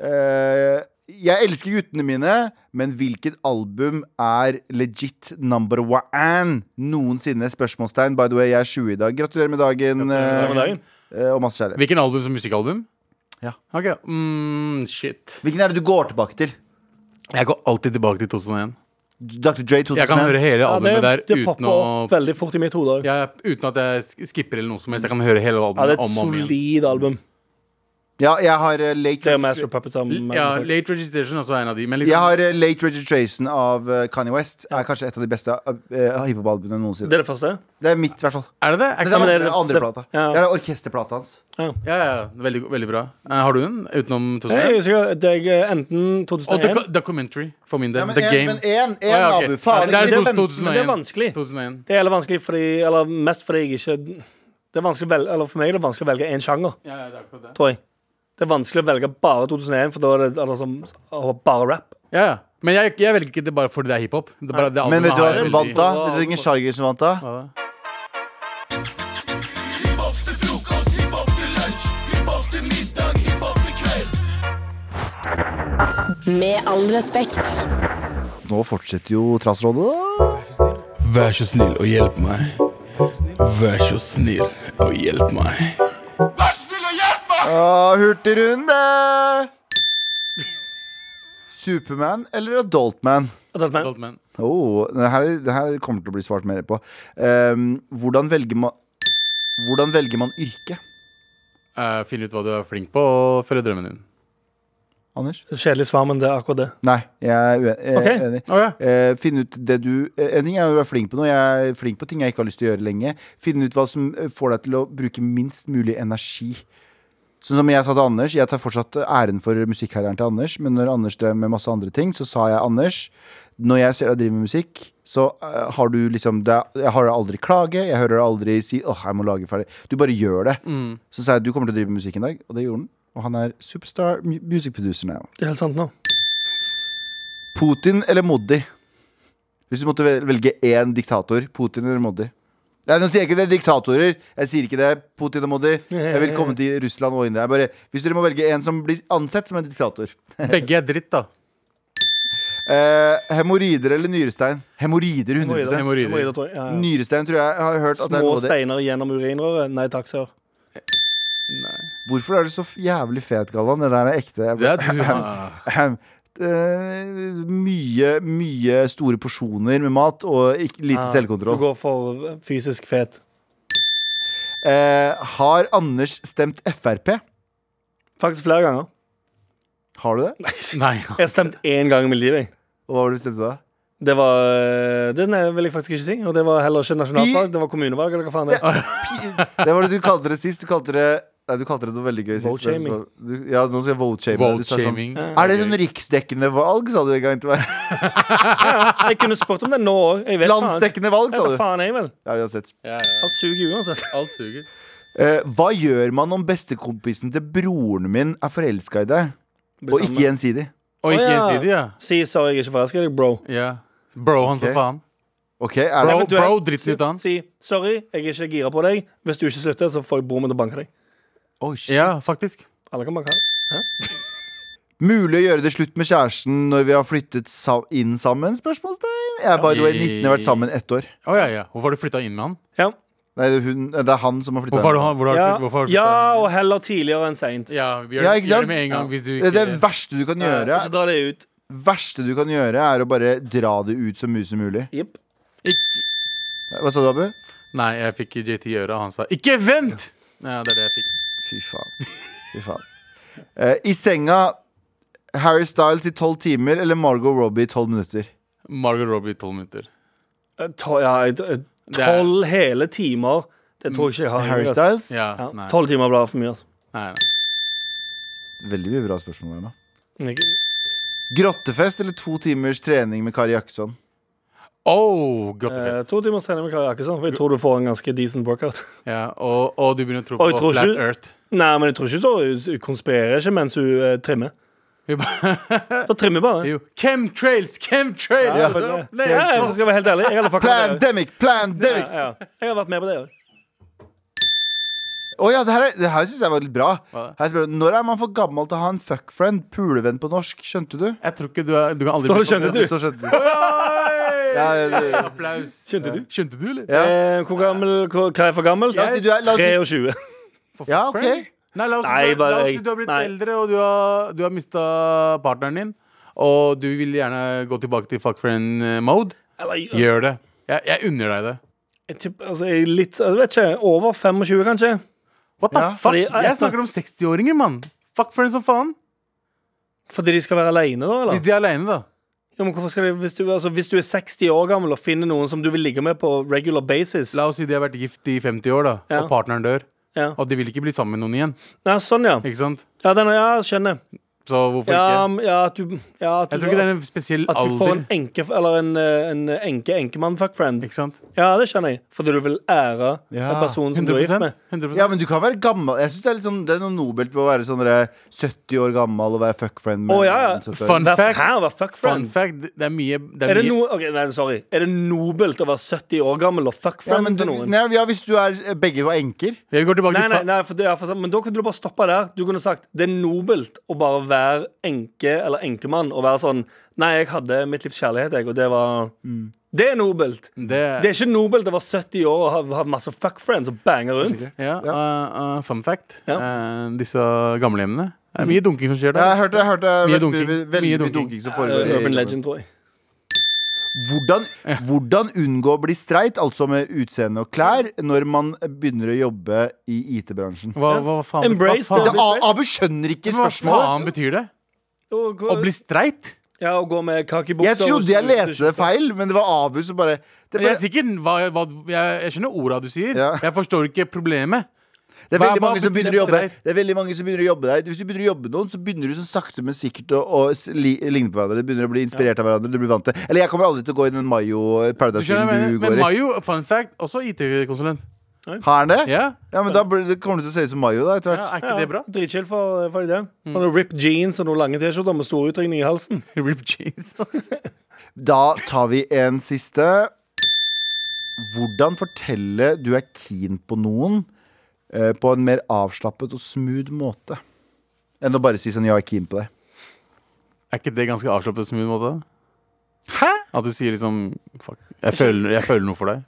Speaker 2: eh, jeg elsker guttene mine, men hvilket album er legit number one noensinne? Spørsmålstegn. By the way, jeg er 20 i dag. Gratulerer med dagen.
Speaker 3: Eh,
Speaker 2: eh,
Speaker 3: med dagen.
Speaker 2: eh, og masse kjærlighet.
Speaker 4: Hvilken album som musikkalbum?
Speaker 2: Ja.
Speaker 4: Ok, mm, Shit.
Speaker 2: Hvilken er det du går tilbake til?
Speaker 4: Jeg går alltid tilbake til 2001.
Speaker 2: Dr. Dre 2001?
Speaker 4: Jeg kan høre hele
Speaker 3: Ja, det
Speaker 4: albumet der
Speaker 3: det
Speaker 4: uten,
Speaker 3: popper
Speaker 4: å,
Speaker 3: opp veldig fort i mitt hode òg. Ja,
Speaker 4: ja, uten at jeg sk- skipper eller noe som helst. Jeg kan høre hele
Speaker 3: det
Speaker 4: albumet
Speaker 3: er et
Speaker 4: om og om igjen.
Speaker 3: solid album.
Speaker 2: Ja, jeg har eh, late,
Speaker 3: Det er Master of Puppets som eh,
Speaker 4: Ja, Late Registration er også en av de. Men
Speaker 2: jeg
Speaker 4: liksom,
Speaker 2: har eh, Late Registration av eh, Kanye West. Er kanskje et av de beste uh, hiphop-albumene noensinne.
Speaker 3: Det er det første.
Speaker 2: Det er mitt, i hvert fall.
Speaker 4: er det det? Er
Speaker 2: Det
Speaker 4: ikke
Speaker 2: er
Speaker 3: men
Speaker 2: andre,
Speaker 3: det er-
Speaker 2: andre
Speaker 3: det-
Speaker 2: plata.
Speaker 3: ja.
Speaker 2: Det er orkesterplata hans.
Speaker 4: Ja, ja, ja. veldig, veldig bra. Eh, har du en utenom
Speaker 3: Nei,
Speaker 4: 2001?
Speaker 3: jeg husker at jeg eh, enten
Speaker 4: Og docu
Speaker 3: 2001
Speaker 4: documentary, for min del.
Speaker 2: Ja, men
Speaker 4: The
Speaker 2: en-
Speaker 4: Game.
Speaker 2: Men én,
Speaker 4: Å, ja, ok.
Speaker 2: Abu. Faen,
Speaker 4: Ja, det
Speaker 2: ikke
Speaker 4: er
Speaker 2: fem.
Speaker 4: 2001.
Speaker 3: Men det er vanskelig.
Speaker 4: 2001.
Speaker 3: Det er heller vanskelig fordi Eller mest fordi jeg ikke Det er vanskelig å velge Eller for meg er det vanskelig å velge én sjanger,
Speaker 4: Ja, ja, det er akkurat det.
Speaker 3: tror jeg. Det er vanskelig å velge bare 2001, for da er det altså, bare rap.
Speaker 4: Ja, ja. Men jeg, jeg velger ikke det bare fordi det er hiphop. Det er bare-
Speaker 2: Men
Speaker 4: det albumet
Speaker 2: vet du hva
Speaker 4: har
Speaker 2: som
Speaker 4: veldig-
Speaker 2: vant, da? Vet du hvilken sjanger som vant, da?
Speaker 4: Hva da?
Speaker 1: Med all respekt.
Speaker 2: Nå fortsetter jo Trassrådet, da.
Speaker 5: Vær så snill og hjelp meg. Vær så snill og hjelp meg.
Speaker 2: Ah, Hurtigrunde! Superman eller Adultman?
Speaker 3: Adult Man.
Speaker 4: Adult Man.
Speaker 2: Oh, det, her, det her kommer til å bli svart mer på. Ehm, hvordan velger man Hvordan velger man yrke?
Speaker 4: Eh, Finn ut hva du er flink på, og følg drømmen din.
Speaker 2: Anders?
Speaker 3: Kjedelig svar, men det er akkurat det.
Speaker 2: Nei, jeg er ue- eh,
Speaker 3: Ok.
Speaker 2: uenig.
Speaker 4: Å ja.
Speaker 2: Eh, finne ut det du eh, En ting er å være flink på noe. Jeg er flink på ting jeg ikke har lyst til å gjøre lenge. Finne ut hva som eh, får deg til å bruke minst mulig energi. Sånn som jeg sa til Anders, jeg tar fortsatt æren for musikkarrieren til Anders, men når Anders drev med masse andre ting, så sa jeg Anders, når jeg ser deg drive med musikk, så eh, har du liksom det, er- Jeg har deg aldri klage, jeg hører deg aldri si åh, jeg må lage ferdig. Du bare gjør det. Så sa jeg du kommer til å drive med musikk en dag, og det gjorde han. Og han er superstar mu- music producer now.
Speaker 3: Det er helt sant nå.
Speaker 2: Putin eller Modi? Hvis du måtte vel- velge én diktator, Putin eller Modi? Nei, nå sier jeg ikke det er diktatorer. Jeg sier ikke det, Putin og Modi. Jeg vil komme til Russland og India. Jeg Bare, hvis dere må velge en som blir ansett som en diktator.
Speaker 4: Begge er dritt, da.
Speaker 2: Eh, hemoroider eller nyrestein? Hemoroider, 100
Speaker 4: Hemoroider.
Speaker 3: Hemoroider, tror jeg. Ja, ja.
Speaker 2: Nyrestein tror jeg jeg har hørt at det er
Speaker 3: Små
Speaker 2: noe av det.
Speaker 3: steiner gjennom urinrøret. Nei takk, sør.
Speaker 2: Hvorfor er du så jævlig fet, Galvan? Det der er ekte. Jeg
Speaker 4: Det
Speaker 2: bare-
Speaker 4: er du, ja.
Speaker 2: Ahem. Eh, mye, mye store porsjoner med mat og ikke, lite
Speaker 4: Ah,
Speaker 3: Ja,
Speaker 2: selvkontroll.
Speaker 3: Du går for eh, fysisk fet.
Speaker 2: Eh, har Anders stemt Frp?
Speaker 3: Faktisk flere ganger.
Speaker 2: Har du det?
Speaker 4: Nei.
Speaker 3: Jeg har stemt én gang i mitt liv. jeg.
Speaker 2: Og hva var det du stemte da?
Speaker 3: Det var eh, Den eh, vil jeg faktisk ikke si. Og det var heller ikke nasjonalvalg, det var kommunevalg, eller hva faen det er.
Speaker 2: Pi- Det var det du kalte det sist. Du kalte det Nei, du kalte det noe veldig gøy sist.
Speaker 3: Vote-shaming.
Speaker 2: Du- Ja, nå skal jeg vote-shame. deg. Du sa Sånn,
Speaker 4: Vote-shaming.
Speaker 2: er det sånn riksdekkende valg, sa du en gang til meg?
Speaker 3: Jeg kunne spurt om det nå òg. Jeg vet faen.
Speaker 2: Landsdekkende valg, sa
Speaker 3: Vet da
Speaker 2: du.
Speaker 3: faen jeg vel.
Speaker 2: Ja, uansett.
Speaker 4: Ja, ja.
Speaker 3: Alt suger uansett.
Speaker 4: Alt suger.
Speaker 2: Eh, hva gjør man om bestekompisen til broren min er forelska i deg, og
Speaker 3: Blir sammen.
Speaker 2: ikke gjensidig?
Speaker 4: Og ikke
Speaker 3: Å, ja.
Speaker 4: gjensidig, ja.
Speaker 3: Si sorry, jeg er ikke forelska i deg, bro.
Speaker 4: ja. Bro, han
Speaker 2: Ok.
Speaker 4: som faen.
Speaker 2: Ok, er
Speaker 4: Bro,
Speaker 2: det
Speaker 3: men du er-
Speaker 4: bro dritten ut av han.
Speaker 3: Si sorry, jeg er ikke gira på deg. Hvis du ikke slutter, så får jeg broren min til å banke deg.
Speaker 2: Oi, shit.
Speaker 4: Ja, faktisk.
Speaker 3: Alle kan banke han.
Speaker 2: Mulig å gjøre det slutt med kjæresten når vi har flyttet sa inn sammen? Spørsmålstegn. Jeg er by the way 19 og har vært sammen ett år.
Speaker 4: Å ja, ja. Hvorfor har du flytta inn med han?
Speaker 3: Ja.
Speaker 2: Nei, det er, hun, det er han som har flytta
Speaker 4: Hvorfor har du, han- hvor har du,
Speaker 3: Ja,
Speaker 4: hvorfor har du
Speaker 3: ja,
Speaker 4: flyttet-
Speaker 3: og heller tidligere enn seint.
Speaker 4: ja, vi gjør,
Speaker 2: Ja,
Speaker 4: det-
Speaker 2: ikke
Speaker 4: gjør
Speaker 2: sant?
Speaker 4: det med en gang hvis du
Speaker 2: Det,
Speaker 4: ikke altså,
Speaker 2: det verste du kan gjøre,
Speaker 3: Ikke dra det ut.
Speaker 2: verste du kan gjøre, er å bare dra det ut så mye som mulig.
Speaker 3: Jipp.
Speaker 4: Ikk-
Speaker 2: Hva sa du, Abu?
Speaker 4: Nei, jeg fikk JT i øret, og han sa 'ikke vent'! Ja, det er det jeg fikk.
Speaker 2: Fy faen. Fy faen. Eh, I senga Harry Styles i tolv timer eller Margot Robbie i tolv minutter?
Speaker 4: Margot Robbie, tolv minutter.
Speaker 3: Eh, to- ja, eh, eh,
Speaker 4: er-
Speaker 3: Tolv hele timer. Det tror jeg ikke jeg har.
Speaker 2: Mm. Harry
Speaker 3: altså.
Speaker 2: Styles?
Speaker 4: Ja,
Speaker 3: Ja,
Speaker 4: nei.
Speaker 3: Tolv timer blir for mye. Altså.
Speaker 4: Nei, nei.
Speaker 2: Veldig mye bra spørsmål der nå.
Speaker 3: Men ikke-
Speaker 2: Grottefest eller to timers trening med Kari Jakkesson?
Speaker 4: Oh,
Speaker 3: Eh,
Speaker 4: grottefest.
Speaker 3: to timers trening med Kari Jakkesson. For jeg tror du får en ganske decent workout.
Speaker 4: Ja, og, og du begynner å tro
Speaker 3: Og
Speaker 4: på
Speaker 3: jeg Eh, tror
Speaker 4: Flat
Speaker 3: ikke-
Speaker 4: Earth.
Speaker 3: Nei, men jeg tror ikke hun- hun konspirerer ikke mens hun eh, trimmer.
Speaker 4: Vi bare,
Speaker 3: Da trimmer bare.
Speaker 4: jo. Chemtrails, chemtrails!
Speaker 2: Ja.
Speaker 3: Ja, for, ja, jeg skal være helt ærlig. Jeg hadde fucka med det.
Speaker 2: Plandemic! Plandemic!
Speaker 3: Ja, ja. Jeg har vært med på det òg.
Speaker 2: Å ja, det her, er- det her syns jeg var litt bra.
Speaker 4: Hva da?
Speaker 2: Her spør, jeg, når er man for gammel til å ha en fuckfriend? Pulevenn på norsk, skjønte du?
Speaker 4: Jeg tror ikke du er Du kan aldri
Speaker 3: Står og
Speaker 4: bli-
Speaker 3: skjønner
Speaker 2: Det
Speaker 3: du?
Speaker 2: står skjønte du. Ja, det,
Speaker 4: Applaus.
Speaker 3: Skjønte du?
Speaker 4: Skjønte du, eller?
Speaker 2: Ja.
Speaker 3: Eh, hvor gammel hvor, Hva er for gammel?
Speaker 2: La oss si du er- la oss si-
Speaker 3: 23.
Speaker 4: For
Speaker 2: ja,
Speaker 4: fuck
Speaker 2: ok.
Speaker 4: friend? Nei, la oss, si
Speaker 3: Nei,
Speaker 4: du, la
Speaker 3: bare
Speaker 4: oss
Speaker 3: jeg-
Speaker 4: si du har blitt
Speaker 3: nei.
Speaker 4: eldre, og du har, du har mista partneren din, og du vil gjerne gå tilbake til fuck friend-mode.
Speaker 3: Eller, jeg,
Speaker 4: Gjør det. Jeg, jeg unner deg det.
Speaker 3: jeg, tipper- altså, jeg, er litt, jeg vet ikke. Over 25, kanskje.
Speaker 4: What the
Speaker 2: Ja.
Speaker 4: fuck?
Speaker 3: Fordi-
Speaker 4: jeg snakker om 60-åringer, mann. Fuck friend som faen.
Speaker 3: Fordi de skal være aleine, da?
Speaker 4: Hvis
Speaker 3: Eller?
Speaker 4: de er aleine, da.
Speaker 3: Ja, men hvorfor skal de, hvis, du, altså, hvis du er 60 år gammel og finner noen som du vil ligge med på regular basis
Speaker 4: La oss si de har vært gift i 50 år, da,
Speaker 3: Ja.
Speaker 4: og partneren dør.
Speaker 3: Ja.
Speaker 4: Og de vil ikke bli sammen med noen igjen.
Speaker 3: Nei, sånn, ja.
Speaker 4: Ikke sant?
Speaker 3: Ja, den, ja skjønner.
Speaker 4: Så hvorfor
Speaker 3: Ja,
Speaker 4: ikke?
Speaker 3: m- ja, at du, ja, at du
Speaker 4: Jeg tror ikke det er en spesiell
Speaker 3: At du får
Speaker 4: alder.
Speaker 3: en enke Eller en, eh, en enke enkemann fuckfriend.
Speaker 4: Ikke sant?
Speaker 3: Ja, det skjønner jeg. Fordi du vil ære
Speaker 2: Ja,
Speaker 3: den personen som du er
Speaker 4: 100,
Speaker 3: gift med.
Speaker 4: 100%.
Speaker 2: ja, men du kan være gammel. Jeg synes Det er litt sånn, det er noe nobelt med å være sånn dere, 70 år gammel og være fuckfriend med
Speaker 3: Å, ja, ja.
Speaker 2: en 70 år.
Speaker 4: Fun
Speaker 3: Hva
Speaker 4: fact.
Speaker 3: her var
Speaker 4: Fun
Speaker 3: fuckfriend?
Speaker 4: fact, det er mye det er
Speaker 3: Er det,
Speaker 4: mye-
Speaker 3: no ok, nei, sorry. er det nobelt å være 70 år gammel og
Speaker 2: Ja,
Speaker 3: fuckfriend
Speaker 2: men du,
Speaker 3: til noen? Nei,
Speaker 2: nei, ja, hvis du er eh, begge var enker.
Speaker 4: Jeg går tilbake
Speaker 3: nei,
Speaker 4: til fa-
Speaker 3: nei for det, ja, for, sant, men da kunne du bare stoppa der. Du kunne sagt det er nobelt å bare være enke eller enkemann og være sånn Nei, jeg hadde mitt livs kjærlighet, jeg, og det var
Speaker 4: Mm.
Speaker 3: Det er nobelt.
Speaker 4: det,
Speaker 3: Det er ikke nobelt å være 70 år og ha, ha masse fuckfriends og bange rundt.
Speaker 4: ja, uh, uh, Fun fact.
Speaker 3: Ja.
Speaker 4: Uh, disse gamlehjemmene. Det er mye dunking som skjer
Speaker 2: Mm. Ja,
Speaker 4: der.
Speaker 2: jeg hørte, jeg hørte
Speaker 4: Mye
Speaker 2: veldig,
Speaker 4: dunking.
Speaker 2: mye- veldig
Speaker 4: Mye
Speaker 2: mye
Speaker 4: dunking.
Speaker 2: dunking som foregår. i
Speaker 3: Urban
Speaker 2: Europa.
Speaker 3: Eh, legend, tror jeg.
Speaker 2: Hvordan, hvordan unngå å bli streit, altså med utseende og klær, når man begynner å jobbe i IT-bransjen? Altså,
Speaker 4: Hva, hva, hva faen
Speaker 3: Embrace
Speaker 4: hva
Speaker 2: Det-
Speaker 4: faen,
Speaker 3: blir streit.
Speaker 2: A- Abu skjønner ikke
Speaker 4: hva
Speaker 2: spørsmålet.
Speaker 4: faen betyr det?
Speaker 3: Og gå-
Speaker 4: Å bli streit?
Speaker 3: Ja, og gå med kakebukser
Speaker 2: Jeg trodde jeg leste det feil, men det var Abu som bare, det,
Speaker 4: Jeg er
Speaker 2: bare,
Speaker 4: sikker hva, hva, jeg, jeg skjønner orda du sier.
Speaker 2: Ja.
Speaker 4: Jeg forstår ikke problemet.
Speaker 2: det er
Speaker 4: hva-
Speaker 2: veldig
Speaker 4: hva
Speaker 2: mange som
Speaker 4: betyr
Speaker 2: begynner å jobbe
Speaker 4: streit?
Speaker 2: Det er veldig mange som begynner å jobbe der. Hvis du begynner å jobbe med noen, så begynner du sånn sakte, men sikkert å, å s- li, ligne på hverandre. Du begynner å bli inspirert av hverandre. Du blir vant til Eller jeg kommer aldri til å gå i den Mayo
Speaker 4: Du skjønner, hva jeg
Speaker 2: Paradise-filmen
Speaker 4: mener?
Speaker 2: du
Speaker 4: men
Speaker 2: går i.
Speaker 4: Mayo, fun fact, også IT-konsulent.
Speaker 2: Har han det?
Speaker 4: Ja?
Speaker 2: Ja, men da blir det- kommer du til å se ut som Mayo da, etter
Speaker 4: ja,
Speaker 2: hvert.
Speaker 4: Er ikke det bra? Mm.
Speaker 3: Dritchill for, for det. Sånne ripped jeans og noen lange T-skjorter med stor utringning i halsen.
Speaker 4: Rip jeans. altså.
Speaker 2: Da tar vi en siste. Hvordan fortelle du er keen på noen eh, på en mer avslappet og smooth måte? Enn å bare si sånn 'jeg er keen på deg'.
Speaker 4: Er ikke det ganske avslappet som en måte?
Speaker 2: Hæ?
Speaker 4: At du sier liksom Fuck, jeg føler, jeg føler noe for deg.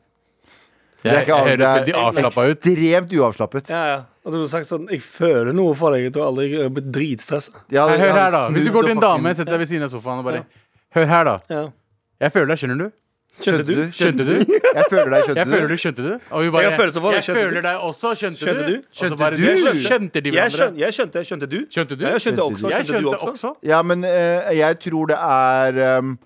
Speaker 2: Det er
Speaker 4: Jeg,
Speaker 2: ikke av-
Speaker 4: jeg høres
Speaker 2: det
Speaker 4: veldig
Speaker 2: er
Speaker 4: avslappa ut.
Speaker 2: Ekstremt uavslappet.
Speaker 3: Ja, ja. Og du har sagt sånn Jeg føler noe for deg. Jeg tror aldri jeg blir dritstressa.
Speaker 2: Ja,
Speaker 4: Nei,
Speaker 2: det-
Speaker 4: hør
Speaker 2: ja,
Speaker 4: her da Hvis du
Speaker 2: smooth
Speaker 4: går til en
Speaker 2: og
Speaker 4: dame,
Speaker 2: fucking-
Speaker 4: setter deg ved siden av sofaen og bare Hør her, da.
Speaker 3: Ja.
Speaker 4: Jeg føler deg, skjønner du?
Speaker 2: Skjønte du?
Speaker 4: Skjønte du?
Speaker 2: Jeg føler deg, skjønte
Speaker 4: Jeg føler
Speaker 2: du?
Speaker 4: du, skjønte du? Og vi bare,
Speaker 3: Jeg har følelser for deg,
Speaker 4: jeg
Speaker 3: skjønte
Speaker 4: føler
Speaker 3: du?
Speaker 4: deg også, skjønte,
Speaker 3: Skjønte
Speaker 4: du?
Speaker 3: du?
Speaker 4: Og så
Speaker 2: Skjønte
Speaker 4: bare,
Speaker 2: du?
Speaker 4: det Skjønte, skjønte de
Speaker 3: Jeg,
Speaker 4: hverandre?
Speaker 3: skjønte, jeg skjønte. Skjønte du?
Speaker 4: Skjønte du?
Speaker 3: Ja, jeg skjønte
Speaker 2: Skjønte
Speaker 3: også.
Speaker 2: du?
Speaker 4: Jeg
Speaker 3: Skjønte du
Speaker 4: skjønte
Speaker 3: også?
Speaker 4: også.
Speaker 2: Ja, men eh, jeg tror det er ehm,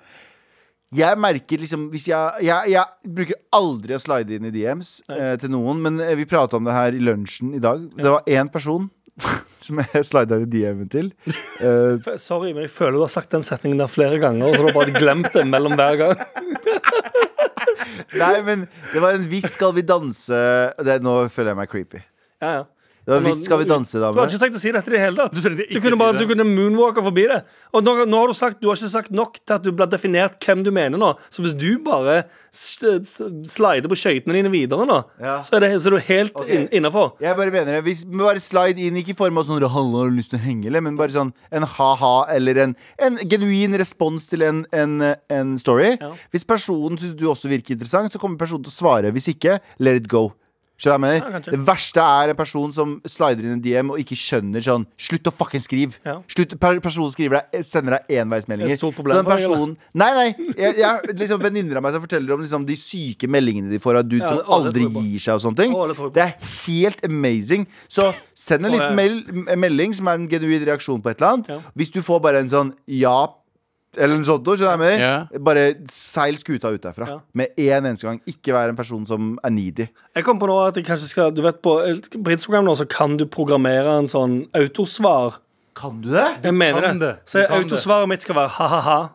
Speaker 2: jeg merker liksom hvis jeg, jeg, jeg bruker aldri å slide inn i DMs eh, til noen, men eh, vi prata om det her i lunsjen i dag. Det var én person som jeg slida i DM-en til. Eh,
Speaker 3: F- Sorry, men jeg føler du har sagt den setningen der flere ganger, og så har du bare glemt det mellom hver gang.
Speaker 2: nei, men det var en 'Hvis skal vi danse' det, Nå føler jeg meg creepy.
Speaker 3: Ja, ja.
Speaker 2: Det var 'Hvis skal vi danse',
Speaker 3: Du har
Speaker 2: dame.
Speaker 3: ikke tenkt å si dette i det hele tatt.
Speaker 4: Du trengte ikke
Speaker 3: Du kunne,
Speaker 4: si
Speaker 3: bare,
Speaker 4: det.
Speaker 3: du kunne moonwalka forbi det. Og nå, nå har Du sagt Du har ikke sagt nok til at du blir definert hvem du mener nå. Så hvis du bare s- s- slider på skøytene dine videre nå,
Speaker 2: Ja.
Speaker 3: så, er det, så er du helt
Speaker 2: Ok.
Speaker 3: in, innafor.
Speaker 2: Jeg bare mener det. Hvis, bare slide inn, ikke i form av sånn «Halla, har du lyst til å henge, eller?' Men bare sånn en ha-ha eller en, en genuin respons til en, en, en story.
Speaker 3: Ja.
Speaker 2: Hvis personen syns du også virker interessant, så kommer personen til å svare. Hvis ikke, let it go. Skjønner du hva jeg
Speaker 3: Ja,
Speaker 2: mener?
Speaker 3: kanskje.
Speaker 2: det verste er en person som slider inn en DM og ikke skjønner sånn Slutt å fucking skrive!
Speaker 3: Ja.
Speaker 2: Slutt, per personen skriver deg, eh, sender deg enveismeldinger.
Speaker 3: Et stort problem
Speaker 2: Så den
Speaker 3: for deg, eller?
Speaker 2: personen Nei, nei! Jeg, jeg, liksom, Venninner av meg som forteller om liksom, de syke meldingene de får av dudes
Speaker 3: Ja, det-
Speaker 2: som
Speaker 3: å, det
Speaker 2: aldri
Speaker 3: tror jeg på.
Speaker 2: gir seg og sånne ting.
Speaker 3: Å, det tror jeg på.
Speaker 2: det er helt amazing. Så send en
Speaker 3: Å, ja.
Speaker 2: liten mel en melding som er en genuin reaksjon på et eller annet.
Speaker 3: Ja.
Speaker 2: Hvis du får bare en sånn ja eller noe sånt, skjønner du hva jeg mener?
Speaker 4: Ja.
Speaker 2: Bare seil skuta ut derfra.
Speaker 3: Ja.
Speaker 2: Med én eneste gang. Ikke være en person som er needy.
Speaker 3: Jeg kom på nå at jeg kanskje skal Du vet, på, eh, på Instagram nå så kan du programmere en sånn autosvar.
Speaker 2: Kan du det?
Speaker 3: Jeg mener
Speaker 4: kan
Speaker 3: det.
Speaker 4: det.
Speaker 3: Så
Speaker 4: Du kan det.
Speaker 3: autosvaret mitt skal være ha-ha-ha.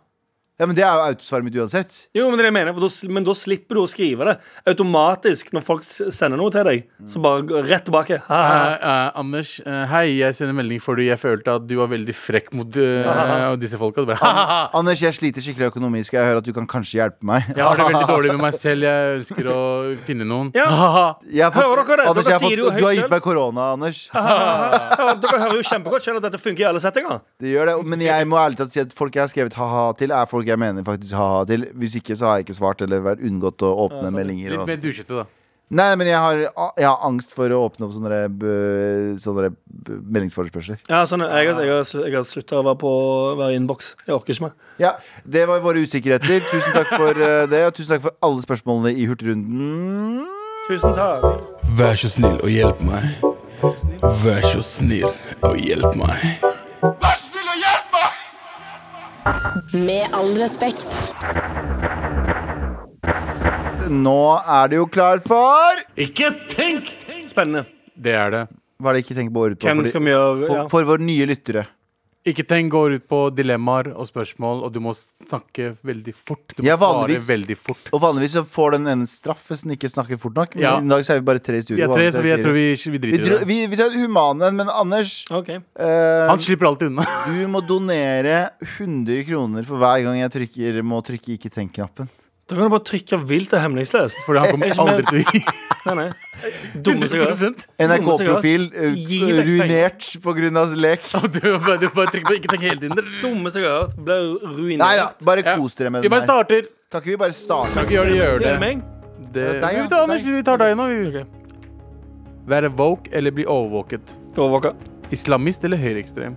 Speaker 2: Ja, men Det er jo autosvaret mitt uansett.
Speaker 3: Jo, men det er det jeg mener, for da, sl- men da slipper du å skrive det automatisk når folk s- sender noe til deg. Så bare gå rett tilbake. Ha, ha, ha.
Speaker 4: Eh, eh, Anders, eh, hei, jeg sender melding fordi jeg følte at du var veldig frekk mot eh, og disse folka. Du bare, ha, ha, ha.
Speaker 2: Anders, jeg sliter skikkelig økonomisk. Jeg hører at du kan kanskje hjelpe meg.
Speaker 4: Jeg har det veldig dårlig med meg selv. Jeg ønsker å finne noen.
Speaker 3: Ja.
Speaker 4: Ha, ha.
Speaker 2: Jeg har fått,
Speaker 3: Hører dere det?
Speaker 2: Anders,
Speaker 3: Dere
Speaker 2: jeg har fått,
Speaker 3: sier det
Speaker 2: du
Speaker 3: jo
Speaker 2: har
Speaker 3: høyt selv.
Speaker 2: gitt meg korona, Anders.
Speaker 3: Ja, Dere hører jo kjempegodt selv at dette funker i alle settinger.
Speaker 2: Det gjør det, Men jeg må ærlig talt si at folk jeg har skrevet ha-ha til, er folk jeg mener faktisk ha-ha til. Hvis ikke så har jeg ikke svart eller vært unngått å åpne meldinger.
Speaker 4: Litt
Speaker 2: Og...
Speaker 4: mer dusjete, da.
Speaker 2: Nei, men jeg har, jeg har angst for å åpne opp sånne, der b- sånne der b- meldingsforespørsler.
Speaker 3: Ja, sånn, jeg, har- jeg, har sl- jeg har slutta å være på å være i innboks. Jeg orker ikke mer.
Speaker 2: Ja, Det var våre usikkerheter. Tusen takk for eh, det, og tusen takk for alle spørsmålene i Hurtigrunden.
Speaker 3: Tusen takk.
Speaker 5: Vær så snill og hjelp meg. Vær så snill og hjelp meg.
Speaker 1: Med all respekt.
Speaker 2: Nå er det jo klar for
Speaker 3: Ikke tenk! Spennende.
Speaker 4: Det er det.
Speaker 2: Hva er det ikke tenker på året på?
Speaker 3: Hvem
Speaker 2: Fordi-
Speaker 3: skal vi gjøre ja.
Speaker 2: for, for våre nye lyttere.
Speaker 4: Ikke tenk går ut på dilemmaer og spørsmål, og du må snakke veldig fort. Du må
Speaker 2: Ja,
Speaker 4: svare
Speaker 2: vanligvis.
Speaker 4: veldig fort.
Speaker 2: Og vanligvis så får den ene straff hvis den ikke snakker fort nok. Men
Speaker 4: Ja.
Speaker 2: i dag så er vi bare tre i studio.
Speaker 4: Vi er tre,
Speaker 2: vanligvis
Speaker 4: så vi, jeg
Speaker 2: fire.
Speaker 4: tror vi, vi
Speaker 2: Vi,
Speaker 4: driter
Speaker 2: dro-
Speaker 4: i det.
Speaker 2: vi, vi tar humane, men Anders
Speaker 3: OK.
Speaker 2: eh,
Speaker 4: Han slipper alltid unna.
Speaker 2: Du må donere 100 kroner for hver gang jeg trykker, må trykke 'ikke tenk'-knappen.
Speaker 4: Mm.
Speaker 3: Da kan du bare trykke vilt og hemningsløst.
Speaker 4: Fordi han kommer aldri til å gi
Speaker 3: Nei, nei. Dummeste jeg gjør.
Speaker 4: 100
Speaker 2: NRK-profil eh,
Speaker 3: Gi deg
Speaker 2: ruinert pga. lek.
Speaker 4: Og du bare, du bare trykker på 'ikke tenk' hele tiden.
Speaker 3: Dummeste jeg har hørt. Ble ruinert.
Speaker 2: Nei da, bare
Speaker 4: Ja.
Speaker 2: kos dere med
Speaker 4: Vi
Speaker 2: den her.
Speaker 4: bare starter.
Speaker 2: Kan ikke vi bare starte?
Speaker 4: Kan ikke gjøre det, gjør
Speaker 3: Det
Speaker 4: det.
Speaker 3: er meg.
Speaker 4: det.
Speaker 2: Ja, deg, ja.
Speaker 4: Vi tar Anders, vi tar deg nå. Vi.
Speaker 3: Ok.
Speaker 4: Være woke eller bli overvåket?
Speaker 3: Overvåka.
Speaker 4: Islamist eller høyreekstrem?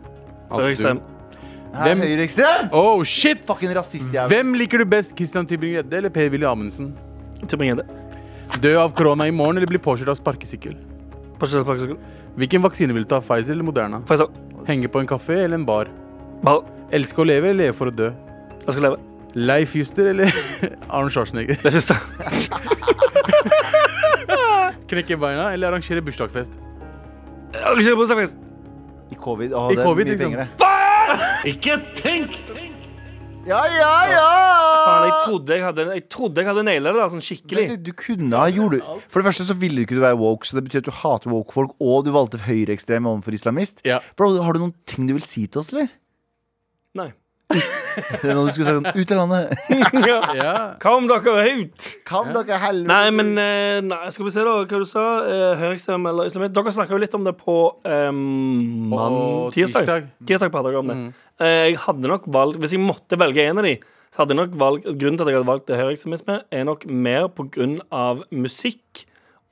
Speaker 4: Altså,
Speaker 3: Ekstrem.
Speaker 4: du-
Speaker 2: Her,
Speaker 4: Hvem-
Speaker 2: Høyreekstrem!
Speaker 4: Oh, shit!
Speaker 2: Fucking rasist, jeg.
Speaker 4: Hvem liker du best, Christian Tybring-Gjedde eller Per-Willy Amundsen?
Speaker 3: Tilbringende.
Speaker 4: Dø av korona i morgen eller bli påkjørt av sparkesykkel?
Speaker 3: På Kjell Pakkeskolen.
Speaker 4: Hvilken vaksine vil du ta? Pfizer eller Moderna?
Speaker 3: Får jeg så.
Speaker 4: Henge på en kafé eller en bar?
Speaker 3: Bare.
Speaker 4: Elske å leve eller leve for å dø?
Speaker 3: Jeg skal leve.
Speaker 4: Leif Juster eller Arne Schwarzenegger?
Speaker 3: Det er siste.
Speaker 4: Knekke beina eller arrangere bursdagsfest?
Speaker 3: Arrangere bursdagsfest.
Speaker 2: I covid. Å,
Speaker 4: I
Speaker 2: det er
Speaker 4: covid,
Speaker 2: mye
Speaker 4: liksom.
Speaker 2: penger, det.
Speaker 3: Ikke tenk!
Speaker 2: Ja, ja, ja!
Speaker 3: Faen, jeg trodde jeg hadde, jeg trodde jeg hadde naila det der sånn skikkelig.
Speaker 2: Men Du kunne ha gjorde, For det første så ville du ikke være woke, så det betyr at du hater woke folk, og du valgte høyreekstrem overfor islamist.
Speaker 4: Ja.
Speaker 2: Bro, har du noen ting du vil si til oss, eller?
Speaker 3: Nei.
Speaker 2: Det er noe du skulle sagt sånn, ut av landet.
Speaker 4: Ja.
Speaker 3: Kom dere ut!
Speaker 2: Kan dere helvete
Speaker 3: Nei, men eh, nei, Skal vi se, da. Hva du sa Eh, Høyreekstrem eller islamist? Dere snakka jo litt om det på eh, mann-
Speaker 4: På
Speaker 3: tirsdag.
Speaker 4: tirsdag. Mm.
Speaker 3: Tirsdag pratet dere om det. Eh, jeg hadde nok valgt Hvis jeg måtte velge en av de, så hadde jeg nok valgt Grunnen til at jeg hadde valgt høyreekstremisme, er nok mer på grunn av musikk